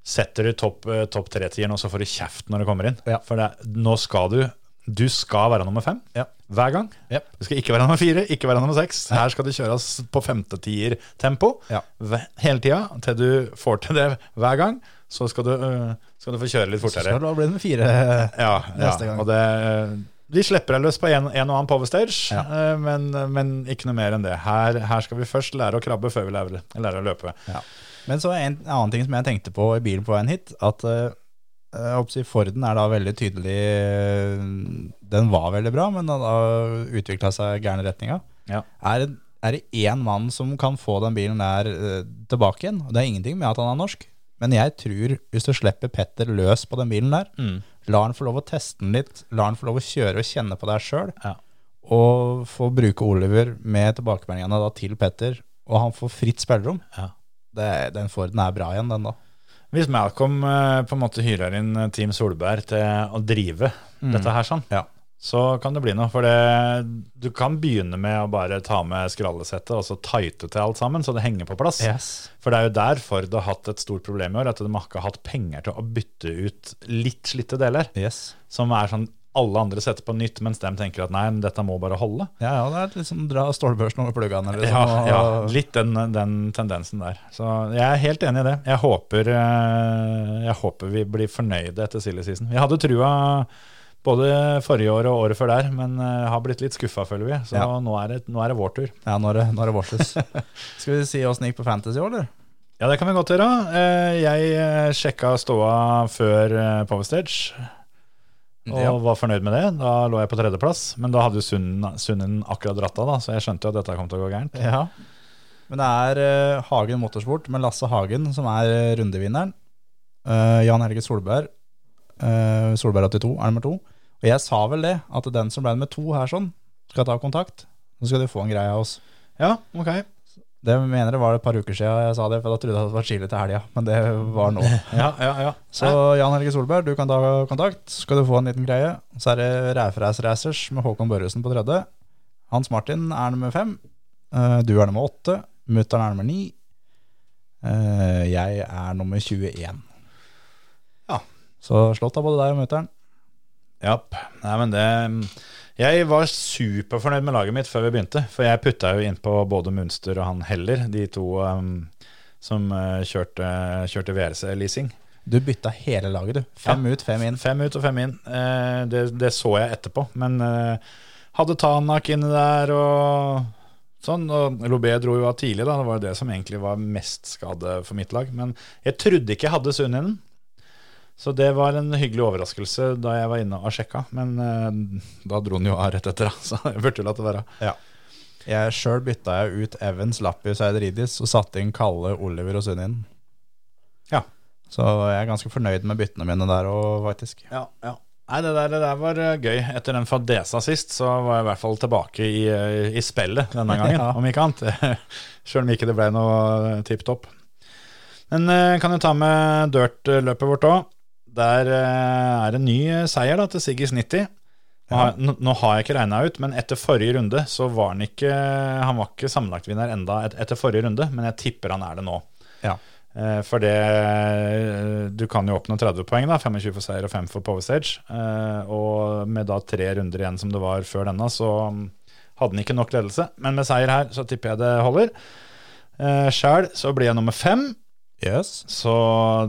Speaker 2: setter du topp eh, topp tre-tieren, og så får du kjeft når du kommer inn.
Speaker 3: Ja.
Speaker 2: For det, er- nå skal du Du skal være nummer fem
Speaker 3: Ja.
Speaker 2: hver gang.
Speaker 3: Ja.
Speaker 2: Du skal ikke være nummer fire, ikke være nummer seks. Her skal det kjøres på femte-tier-tempo
Speaker 3: Ja.
Speaker 2: hve- hele tida til du får til det hver gang. Så skal du, eh, skal du få kjøre litt
Speaker 3: Så
Speaker 2: fortere.
Speaker 3: skal det da bli nummer fire.
Speaker 2: Ja,
Speaker 3: Neste
Speaker 2: ja.
Speaker 3: gang.
Speaker 2: og det, øh, de slipper deg løs på en, en og annen powerstage,
Speaker 3: Ja.
Speaker 2: eh, men, men ikke noe mer enn det. Her, her skal vi først lære å krabbe før vi lærer, lærer å løpe.
Speaker 3: Men så en annen ting som jeg tenkte på i bilen på veien hit, at eh, jeg håper å si Forden er da veldig tydelig eh, Den var veldig bra, men den har utvikla seg i gærne retninga.
Speaker 2: Ja.
Speaker 3: Er, det- er det én mann som kan få den bilen der eh, tilbake igjen? Det er ingenting med at han er norsk, men jeg tror hvis du slipper Petter løs på den bilen der,
Speaker 2: Mm.
Speaker 3: lar han få lov å teste den litt, lar han få lov å kjøre og kjenne på det her sjøl,
Speaker 2: Ja.
Speaker 3: og få bruke Oliver med tilbakemeldingene da til Petter, og han får fritt spillerom
Speaker 2: Ja.
Speaker 3: det, den Forden er bra igjen, den da.
Speaker 2: Hvis Malcolm eh, på en måte hyrer inn eh, Team Solberg til å drive dette her sånn,
Speaker 3: Ja.
Speaker 2: så kan det bli noe. For det, du kan begynne med å bare ta med skrallesettet og så tighte til alt sammen, så det henger på plass. For det er jo der Ford har hatt et stort problem i år, at de ikke har hatt penger til å bytte ut litt slitte deler.
Speaker 3: Yes.
Speaker 2: som er sånn alle andre setter på nytt, mens de tenker at nei, men dette må bare holde.
Speaker 3: Ja, ja, det er liksom dra stålbørsen over pluggene. Liksom,
Speaker 2: Ja,
Speaker 3: og-
Speaker 2: ja, litt den, den tendensen der. Så jeg er helt enig i det. Jeg håper, eh, jeg håper vi blir fornøyde etter silly season. Jeg hadde trua både forrige år og året før der, men eh, har blitt litt skuffa, føler vi. Så
Speaker 3: Ja.
Speaker 2: nå, er det, nå er det vår tur.
Speaker 3: ja, nå er det, nå er det varses. Skal vi si åssen det gikk på Fantasy òg, eller?
Speaker 2: Ja, det kan vi godt gjøre. Eh, Jeg eh, sjekka ståa før eh, Power Stage. Og
Speaker 3: Ja.
Speaker 2: var fornøyd med det. Da lå jeg på tredjeplass. Men da hadde jo Sunnen, Sunnen akkurat dratt av, da, så jeg skjønte jo at dette kom til å gå gærent.
Speaker 3: Ja. Men det er eh, Hagen Motorsport med Lasse Hagen som er eh, rundevinneren. Eh, Jan Helge Solberg. eh, Solberg 82 er nummer to. Og jeg sa vel det, at den som ble nummer to her sånn, skal ta kontakt. Så skal du få en greie av oss.
Speaker 2: Ja, ok.
Speaker 3: Det mener jeg var et par uker siden jeg sa det, for da trodde jeg det var chili til helga. Men det var nå.
Speaker 2: Ja, ja, ja.
Speaker 3: Så Jan Helge Solberg, du kan ta kontakt. Skal du få en liten greie. Så er det Ræfreis Racers med Håkon Børresen på tredje. Hans Martin er nummer fem. Eh, Du er nummer åtte. Mutter'n er nummer ni. Eh, Jeg er nummer 21.
Speaker 2: Ja.
Speaker 3: Så slått av både deg og mutter'n.
Speaker 2: Japp. Nei, men det mm, Jeg var superfornøyd med laget mitt før vi begynte, for jeg putta jo innpå både Munster og han Heller, de to em, som eh, kjørte, kjørte VRC-leasing.
Speaker 3: Du bytta hele laget, du. Fem ut, fem inn.
Speaker 2: Fem ut og fem inn. Eh, det, det så jeg etterpå. Men eh, hadde Tanak inne der og sånn. Og Lobé dro jo av tidlig, da. Det var jo det som egentlig var mest skade for mitt lag. Men jeg trodde ikke jeg hadde Sunninen. Så det var en hyggelig overraskelse da jeg var inne og sjekka. Men eh, da dro han jo av rett etter, da. Så jeg burde jo latt det være.
Speaker 3: Jeg Sjøl bytta jeg ut Evans, Lappius og Eideridis og satte inn Kalle, Oliver og Sunninen.
Speaker 2: Ja.
Speaker 3: Så jeg er ganske fornøyd med byttene mine der òg, faktisk.
Speaker 2: Ja, ja. Nei, det der, det der var eh, gøy. Etter den fadesa sist, så var jeg i hvert fall tilbake i, eh, i spillet denne gangen,
Speaker 3: Ja.
Speaker 2: om ikke annet. Sjøl om ikke det ble noe tipp topp. Men eh, kan jo ta med dirt-løpet vårt òg. Der eh, er det en ny eh, seier da, til Siggis 90. Nå har, nå nå har jeg ikke regna ut, men etter forrige runde så var han ikke Han var ikke sammenlagtvinner enda et, etter forrige runde, men jeg tipper han er det nå.
Speaker 3: Ja.
Speaker 2: Eh, For det eh, Du kan jo oppnå 30 poeng, da. 25 for seier og 5 for power stage. Eh, Og med da tre runder igjen som det var før denne, så mm, hadde han ikke nok ledelse. Men med seier her, så tipper jeg det holder. Eh, Sjæl så blir jeg nummer fem,
Speaker 3: Yes.
Speaker 2: så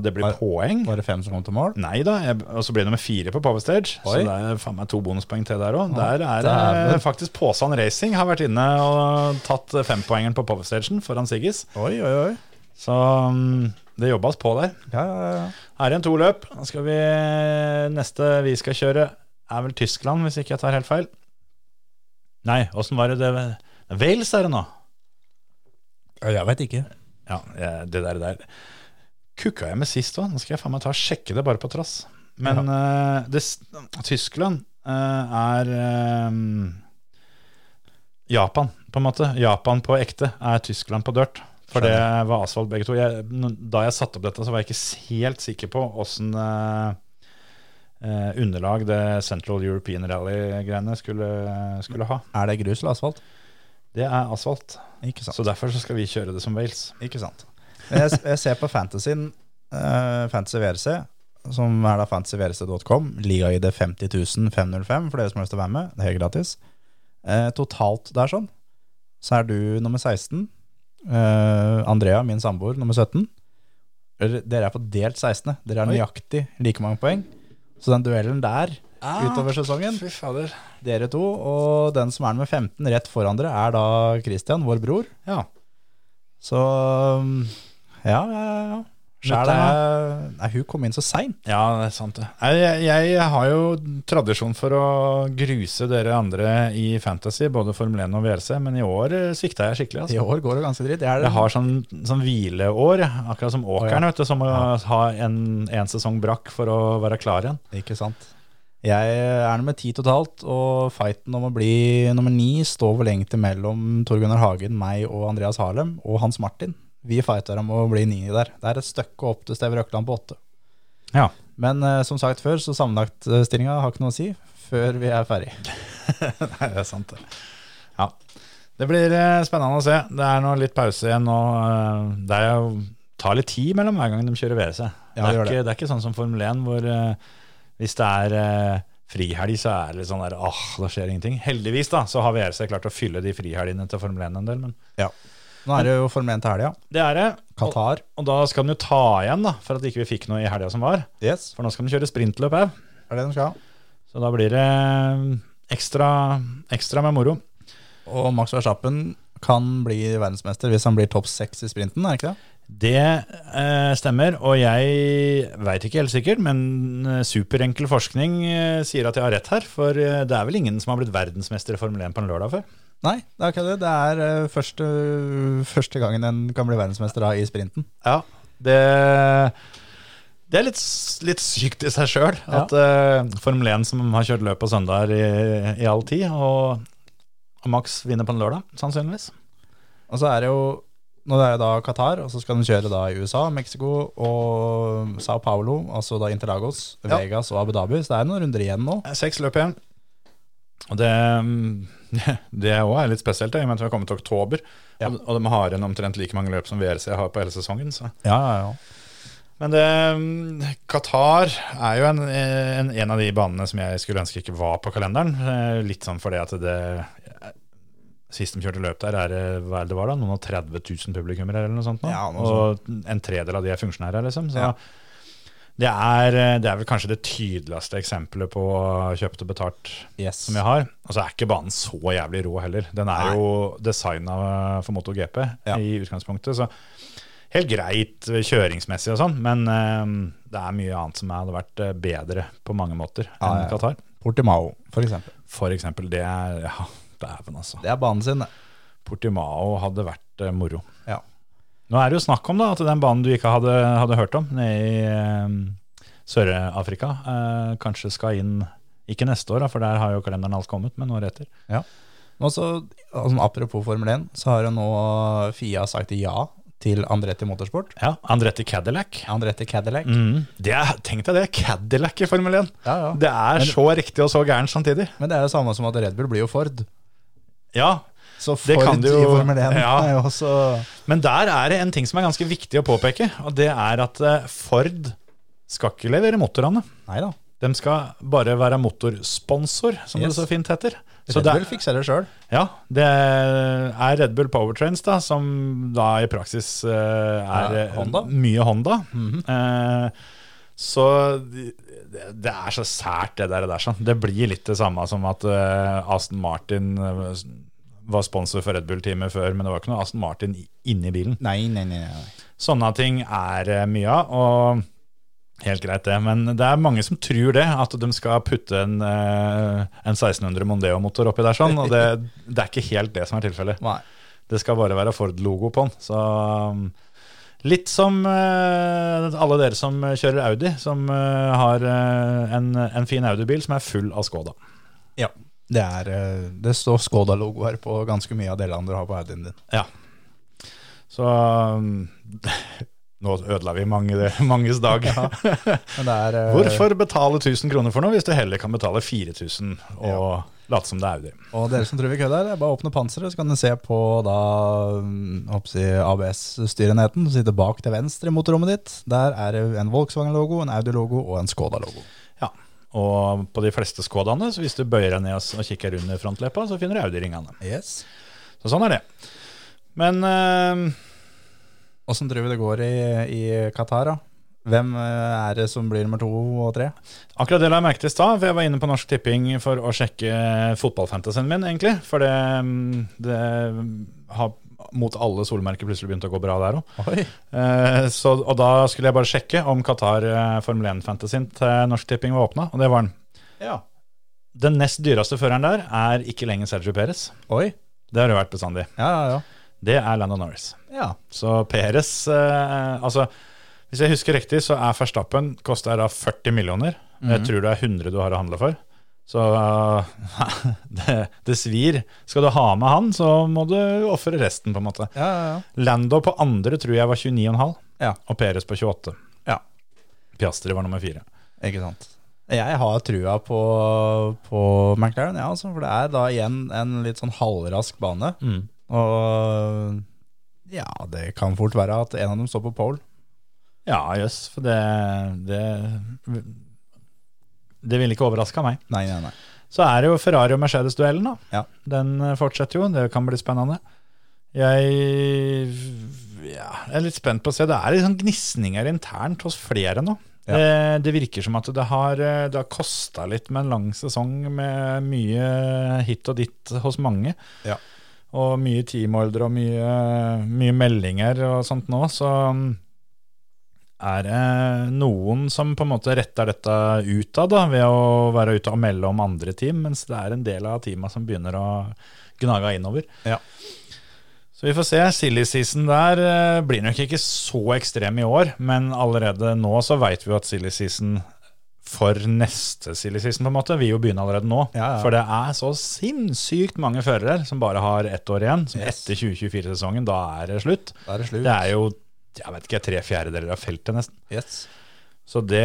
Speaker 2: det blir
Speaker 3: Var-
Speaker 2: poeng.
Speaker 3: Var det fem som kom til mål?
Speaker 2: Nei da, jeg- og så blir det nummer fire på Power Stage. Så
Speaker 3: Oi.
Speaker 2: det er faen meg to bonuspoeng til der òg. Der er
Speaker 3: dæven.
Speaker 2: det faktisk Påsan Racing har vært inne og tatt eh, fempoengeren på Power Stagen foran Siggis.
Speaker 3: Oi, oi, oi.
Speaker 2: Så mm, det jobbes på der.
Speaker 3: Ja, ja, ja.
Speaker 2: Her er en to løp. Da skal vi, neste vi skal kjøre, er vel Tyskland, hvis ikke jeg tar helt feil. Nei, åssen var det det Wales er det nå.
Speaker 3: Jeg veit ikke.
Speaker 2: Ja, jeg- det der, det der. Kukka jeg med sist òg? Nå skal jeg faen meg ta og sjekke det bare på trass. Men eh, det, s- Tyskland eh, er eh, Japan, på en måte. Japan på ekte er Tyskland på dirt. For det var asfalt begge to. Jeg, n- da jeg satte opp dette, så var jeg ikke helt sikker på åssen eh, eh, underlag det Central European Rally-greiene skulle, skulle ha.
Speaker 3: Er det grus eller asfalt?
Speaker 2: Det er asfalt.
Speaker 3: Ikke sant.
Speaker 2: Så derfor så skal vi kjøre det som Wales.
Speaker 3: Ikke sant. Men jeg, jeg ser på fantasyen, eh, Fantasy VRC, som er da fantasyvrc.com. Liga-ID 50505 for dere som har lyst til å være med. Det er helt gratis. Eh, totalt der sånn, så er du nummer 16. Eh, Andrea, min samboer, nummer 17. Eller, Dere er på delt 16. Dere har
Speaker 2: Oi.
Speaker 3: nøyaktig like mange poeng. Så den duellen der utover sesongen,
Speaker 2: Ah, Fy fader.
Speaker 3: dere to, og den som er nummer 15 rett foran dere, er da Christian, vår bror.
Speaker 2: Ja.
Speaker 3: Så um, ja, ja, ja, ja. Skjær
Speaker 2: Møtte
Speaker 3: deg. Nei, hun kom inn så seint.
Speaker 2: Ja, det er sant det. Nei, Jeg, jeg har jo tradisjon for å gruse dere andre i Fantasy, både Formel 1 og VRC, men i år eh, svikta jeg
Speaker 3: I
Speaker 2: skikkelig. Altså.
Speaker 3: år går det ganske dritt. Jeg, er,
Speaker 2: Jeg har sånn, sånn hvileår, akkurat som åkeren, vet du, som må ha en, en sesong brakk for å være klar igjen.
Speaker 3: Ikke sant. Jeg er nummer ti totalt, og fighten om å bli nummer ni står vel egentlig mellom Tor Gunnar Hagen, meg og Andreas Harlem og Hans Martin. Vi fighter om å bli ni der. Det er et stykke opp til Steve Røkland på åtte.
Speaker 2: Ja.
Speaker 3: Men eh, som sagt før, så
Speaker 2: eh,
Speaker 3: sammenlagtstillinga har ikke noe å si før vi er ferdig.
Speaker 2: Nei, det er sant det. Ja. Det blir eh, spennende å se. Det er nå litt pause igjen nå. eh, Det er jo, tar litt tid mellom hver gang de kjører VRC.
Speaker 3: Ja,
Speaker 2: det,
Speaker 3: det
Speaker 2: er
Speaker 3: gjør
Speaker 2: ikke, det er ikke sånn som Formel 1 hvor eh, hvis det er eh, frihelg, så er det litt sånn der åh, da skjer ingenting. Heldigvis da, så har VRC klart å fylle de frihelgene til Formel 1 en del, men
Speaker 3: Nå er det jo Formel 1 til helga.
Speaker 2: det er det. Og,
Speaker 3: Qatar.
Speaker 2: og da skal de jo ta igjen da, for at ikke vi fikk noe i helga som var.
Speaker 3: Yes.
Speaker 2: For nå skal de kjøre sprintløp her.
Speaker 3: Er det de skal ha?
Speaker 2: Så da blir det eh, ekstra, ekstra med moro.
Speaker 3: Og Max Verstappen kan bli verdensmester hvis han blir topp seks i sprinten, er det ikke det?
Speaker 2: Det eh, stemmer, og jeg veit ikke helt sikkert, men eh, superenkel forskning eh, sier at jeg har rett her. For eh, det er vel ingen som har blitt verdensmester i Formel 1 på en lørdag før?
Speaker 3: Nei, det er ikke det. Det er eh, første, første gangen en kan bli verdensmester da, i sprinten.
Speaker 2: Ja, det, det er litt, s- litt sykt i seg sjøl at eh, Formel 1 som har kjørt løp på søndager i, i all tid, og, og Max vinner på en lørdag, sannsynligvis.
Speaker 3: Og så er det jo nå er det da Qatar, og så skal de kjøre da i USA, Mexico og Sao Paulo, altså da Interlagos,
Speaker 2: Ja.
Speaker 3: Vegas og Abu Dhabi. Så det er noen runder igjen nå.
Speaker 2: Det er Seks løp igjen. Og det, mm, det er også litt spesielt, da, i og med at vi har kommet til oktober.
Speaker 3: Ja.
Speaker 2: Og, og de har igjen omtrent like mange løp som VRC har på hele sesongen. Så.
Speaker 3: Ja, ja, ja.
Speaker 2: Men det, mm, Qatar er jo en, en, en av de banene som jeg skulle ønske ikke var på kalenderen. Eh, Litt sånn fordi at det Sist de kjørte løp der, er det hva er det det var da, noen og 30 000 publikummere eller noe sånt. Nå.
Speaker 3: Ja, noe
Speaker 2: og en tredel av de er funksjonærer, liksom. Så
Speaker 3: Ja.
Speaker 2: det, er, eh, det er vel kanskje det tydeligste eksempelet på kjøpt og betalt
Speaker 3: Yes.
Speaker 2: som jeg har. Og så er ikke banen så jævlig rå heller. Den er
Speaker 3: Nei.
Speaker 2: jo designa for MotoGP
Speaker 3: Ja.
Speaker 2: i utgangspunktet, så helt greit eh, kjøringsmessig og sånn, men eh, det er mye annet som hadde vært eh, bedre på mange måter enn
Speaker 3: Ja, ja, ja.
Speaker 2: Qatar.
Speaker 3: Portimao, for eksempel.
Speaker 2: For eksempel, det er Ja, dæven, altså.
Speaker 3: Det er banen sin, det.
Speaker 2: Portimao hadde vært eh, moro.
Speaker 3: Ja.
Speaker 2: Nå er det jo snakk om da, at den banen du ikke hadde, hadde hørt om nede i eh, Sør-Afrika, eh, kanskje skal inn ikke neste år, da, for der har jo kalenderen alt kommet, men året etter.
Speaker 3: Og så, altså, apropos Formel 1, så har jo nå Fia sagt ja til Andretti Motorsport.
Speaker 2: Ja, Andretti Cadillac.
Speaker 3: Andretti Cadillac.
Speaker 2: Mm. Det er, tenk deg det, Cadillac i Formel 1.
Speaker 3: Ja, ja.
Speaker 2: Det er
Speaker 3: Men-
Speaker 2: så riktig og så gærent samtidig.
Speaker 3: Men det er jo samme som at Red Bull blir jo Ford.
Speaker 2: Ja,
Speaker 3: Så
Speaker 2: Det
Speaker 3: Ford
Speaker 2: kan du
Speaker 3: i
Speaker 2: jo-
Speaker 3: Formel 1
Speaker 2: ja.
Speaker 3: er jo også
Speaker 2: Men der er det en ting som er ganske viktig å påpeke, og det er at eh, Ford skal ikke levere motorene.
Speaker 3: Nei da.
Speaker 2: De skal bare være motorsponsor, som
Speaker 3: Yes.
Speaker 2: det så fint heter. Så
Speaker 3: Red
Speaker 2: det-
Speaker 3: Bull fikser det sjøl.
Speaker 2: Ja, det er Red Bull Powertrains, da, som da i praksis eh, er
Speaker 3: Ja, Honda. Mhm.
Speaker 2: eh, mye Honda. Eh, så de- det, det er så sært, det der. Det, er sånn. det blir litt det samme som at eh, Aston Martin eh, var sponsor for Red Bull-teamet før, men det var ikke noe Aston Martin i- inni bilen.
Speaker 3: Nei, nei, nei. nei.
Speaker 2: Sånne ting er eh, mye av, og helt greit det. Men det er mange som tror det, at de skal putte en, eh, en 1600 Mondeo-motor oppi der sånn, og det, det er ikke helt det som er tilfellet.
Speaker 3: nei.
Speaker 2: Det skal bare være Ford-logo på den, så um, Litt som eh, alle dere som kjører Audi, som eh, har eh, en, en fin Audi-bil som er full av Skoda.
Speaker 3: Ja. Det, er, eh, det står Skoda-logoer på ganske mye av delene du har på Audien din.
Speaker 2: Ja. Så um, nå ødela vi mange, manges dag.
Speaker 3: Men det er, eh,
Speaker 2: Hvorfor betale 1000 kroner for noe hvis du heller kan betale 4000 og late som det er Audi?
Speaker 3: Og dere som tror vi kødder, det er bare å åpne panseret, så kan dere se på da mm, håper jeg, ABS-styrenheten som sitter bak til venstre i motorrommet ditt. Der er det en Volkswagen-logo, en Audi-logo og en Skoda-logo.
Speaker 2: Ja. Og på de fleste Skodaene, så hvis du bøyer deg ned og s- og kikker under frontleppa, så finner du Audi-ringene.
Speaker 3: Yes.
Speaker 2: Så sånn er det. Men eh,
Speaker 3: Åssen tror vi det går i, i Qatar, da? Hvem eh, er det som blir nummer to og tre?
Speaker 2: Akkurat det la jeg merke til i stad, for jeg var inne på Norsk Tipping for å sjekke fotballfantasien min, egentlig. For det, mm, det har mot alle solmerker plutselig begynt å gå bra der òg.
Speaker 3: Oi.
Speaker 2: Eh, og da skulle jeg bare sjekke om Qatar eh, Formel 1-fantasien til Norsk Tipping var åpna, og det var den.
Speaker 3: Ja.
Speaker 2: Den nest dyreste føreren der er ikke lenger Sergio Perez.
Speaker 3: Oi.
Speaker 2: Det har det vært bestandig.
Speaker 3: Ja, ja,
Speaker 2: Det er Lando Norris.
Speaker 3: ja. ja.
Speaker 2: Så Perez eh, Altså, hvis jeg husker riktig, så er Verstappen koster da 40 millioner. Jeg tror det er 100 du har å handle for. Så eh, det, det svir. Skal du ha med han, så må du ofre resten, på en måte.
Speaker 3: ja, ja,
Speaker 2: Lando på andre tror jeg var 29,5,
Speaker 3: Ja.
Speaker 2: og Perez på 28.
Speaker 3: Ja.
Speaker 2: Piastri var nummer fire.
Speaker 3: ja. Ikke sant. Jeg har trua på, på McLaren, ja, altså, for det er da igjen en litt sånn halvrask bane. Og ja, det kan fort være at en av dem står på pole.
Speaker 2: Ja, jøss. for det, det Det ville ikke overraska meg.
Speaker 3: Nei, nei, nei.
Speaker 2: Så er det jo Ferrari og Mercedes-duellen, da.
Speaker 3: Ja.
Speaker 2: Den eh, fortsetter jo, det kan bli spennende. Jeg ja, jeg er litt spent på å se. Det er litt sånn gnisninger internt hos flere nå.
Speaker 3: Ja.
Speaker 2: Eh, Det virker som at det har, eh, det har kosta litt med en lang sesong med mye hit og dit hos mange.
Speaker 3: Ja.
Speaker 2: Og mye teamordre og mye, mye meldinger og sånt nå. Så mm, er det noen som på en måte retter dette ut av, da, ved å være ute og melde om andre team, mens det er en del av teama som begynner å gnage innover.
Speaker 3: Ja.
Speaker 2: Så vi får se. Silly season der eh, blir nok ikke så ekstrem i år, men allerede nå så veit vi jo at silly season for neste silly season på en måte vil jo begynne allerede nå.
Speaker 3: Ja, ja.
Speaker 2: For det er så sinnssykt mange førere som bare har ett år igjen. Som
Speaker 3: Yes.
Speaker 2: etter 2024-sesongen, da er det slutt.
Speaker 3: Da er det slutt.
Speaker 2: Det er jo jeg vet ikke, tre fjerdedeler av feltet, nesten.
Speaker 3: Yes.
Speaker 2: Så det,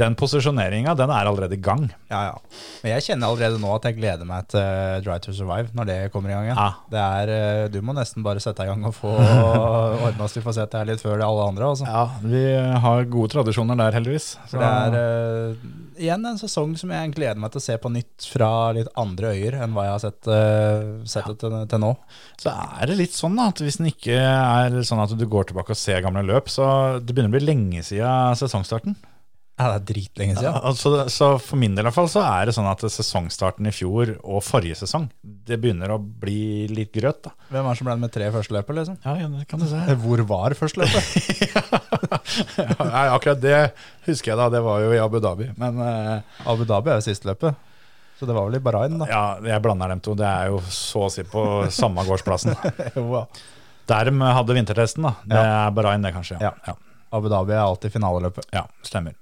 Speaker 2: den posisjoneringa, den er allerede i gang.
Speaker 3: Ja, ja. Men jeg kjenner allerede nå at jeg gleder meg til eh, Drive to Survive når det kommer i gang igjen.
Speaker 2: Ja.
Speaker 3: Det er, eh, du må nesten bare sette deg i gang og få ordna så vi får sett det her litt før alle andre. Altså.
Speaker 2: Ja, Vi har gode tradisjoner der, heldigvis.
Speaker 3: For det er eh, igjen en sesong som jeg gleder meg til å se på nytt fra litt andre øyer enn hva jeg har sett, eh, sett det til, til nå.
Speaker 2: så er det litt sånn da, at hvis den ikke er sånn at du går tilbake og ser gamle løp, så det begynner å bli lenge siden sesongstarten.
Speaker 3: Ja, det er dritlenge siden.
Speaker 2: Altså, så for min del i hvert fall så er det sånn at sesongstarten i fjor og forrige sesong, det begynner å bli litt grøt. da.
Speaker 3: Hvem er det som ble med tre første løpet, liksom?
Speaker 2: Ja, det kan du si.
Speaker 3: Hvor var første løpet?
Speaker 2: Nei, akkurat det husker jeg da, det var jo i Abu Dhabi. Men eh,
Speaker 3: Abu Dhabi er jo siste løpet, så det var vel i Bahrain, da.
Speaker 2: ja, jeg blander dem to. Det er jo så å si på samme gårdsplassen.
Speaker 3: Jo, ja.
Speaker 2: Der de hadde vintertesten, da. Det
Speaker 3: Ja.
Speaker 2: er Bahrain, det, kanskje.
Speaker 3: Ja.
Speaker 2: ja.
Speaker 3: Abu Dhabi er alltid finaleløpet.
Speaker 2: Ja, stemmer.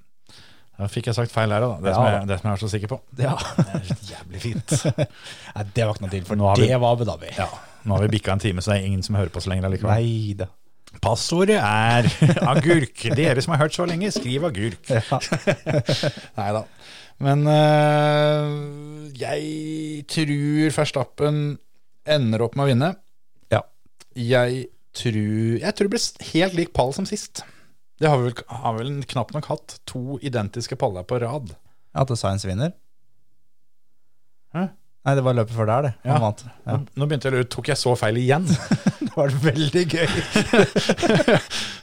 Speaker 2: Da fikk jeg sagt feil her, da. Det,
Speaker 3: Ja,
Speaker 2: som,
Speaker 3: da.
Speaker 2: jeg, det som jeg er så sikker på.
Speaker 3: Ja.
Speaker 2: Det er jævlig fint.
Speaker 3: Nei, det var ikke noe til, for
Speaker 2: Nå har vi-
Speaker 3: det var Abu Dhabi.
Speaker 2: Ja, Nå har vi bikka en time, så det er ingen som hører på så lenge allikevel.
Speaker 3: Nei da.
Speaker 2: Passordet er agurk. Dere som har hørt så lenge, skriv agurk.
Speaker 3: Ja.
Speaker 2: Nei da. Men øh, jeg tror Verstappen ender opp med å vinne.
Speaker 3: Ja.
Speaker 2: Jeg tror Jeg tror det blir helt lik pall som sist. Det har vi vel, har vel knapt nok hatt. To identiske paller på rad.
Speaker 3: At Science vinner?
Speaker 2: Hæ?
Speaker 3: Nei, det var løpet før der, det. Han
Speaker 2: Ja.
Speaker 3: vant. Ja. Mm.
Speaker 2: Nå- Nå begynte jeg å lure, tok jeg så feil igjen?
Speaker 3: Det var veldig gøy.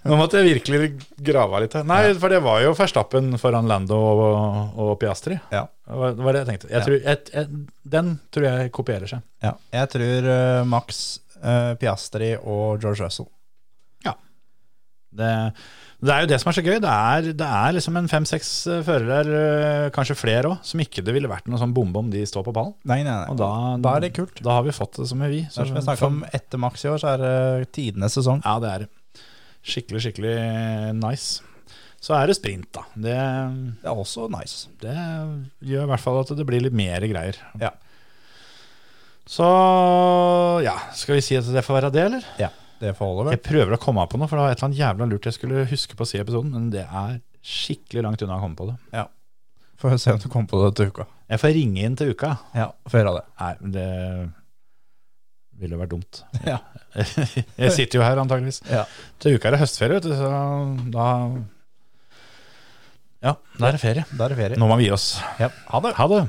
Speaker 2: Nå måtte jeg virkelig grave litt her. Nei, for det var jo Verstappen foran Lando og, og Piastri.
Speaker 3: Ja.
Speaker 2: Det var, det var det jeg tenkte. Jeg
Speaker 3: Ja.
Speaker 2: tror, jeg, jeg, den tror jeg kopierer seg.
Speaker 3: Ja. Jeg tror eh, Max, eh, Piastri og George Russell.
Speaker 2: Det, det er jo det som er så gøy. Det er, det er liksom en fem-seks eh, førere, eh, kanskje flere òg, som ikke det ville vært noe sånn bombe om de står på pallen.
Speaker 3: Nei, nei, nei.
Speaker 2: Og da,
Speaker 3: Da er det kult.
Speaker 2: Da har vi fått det som vi vil.
Speaker 3: Så skal vi snakke om etter Max i år, så er det tidenes sesong.
Speaker 2: Ja, det er det. Skikkelig, skikkelig eh, nice. Så er det sprint, da. Det,
Speaker 3: Det er også nice.
Speaker 2: det gjør i hvert fall at det blir litt mer greier.
Speaker 3: Ja.
Speaker 2: Så ja, skal vi si at det får være det, eller?
Speaker 3: Ja, Det får holde,
Speaker 2: Jeg
Speaker 3: vel.
Speaker 2: prøver å komme på noe, for det var et eller annet jævla lurt jeg skulle huske på å si i episoden, men det er skikkelig langt unna å komme på det.
Speaker 3: Får se om du kommer på det til uka.
Speaker 2: Jeg får ringe inn til uka.
Speaker 3: Ja, får gjøre det.
Speaker 2: Nei, men det ville vært dumt.
Speaker 3: Ja.
Speaker 2: jeg sitter jo her antageligvis.
Speaker 3: Ja.
Speaker 2: Til uka er det høstferie, vet du, så da Ja, da er det ferie.
Speaker 3: Da er det ferie.
Speaker 2: Nå må vi gi oss.
Speaker 3: Ja. Ha det.
Speaker 2: Ha det.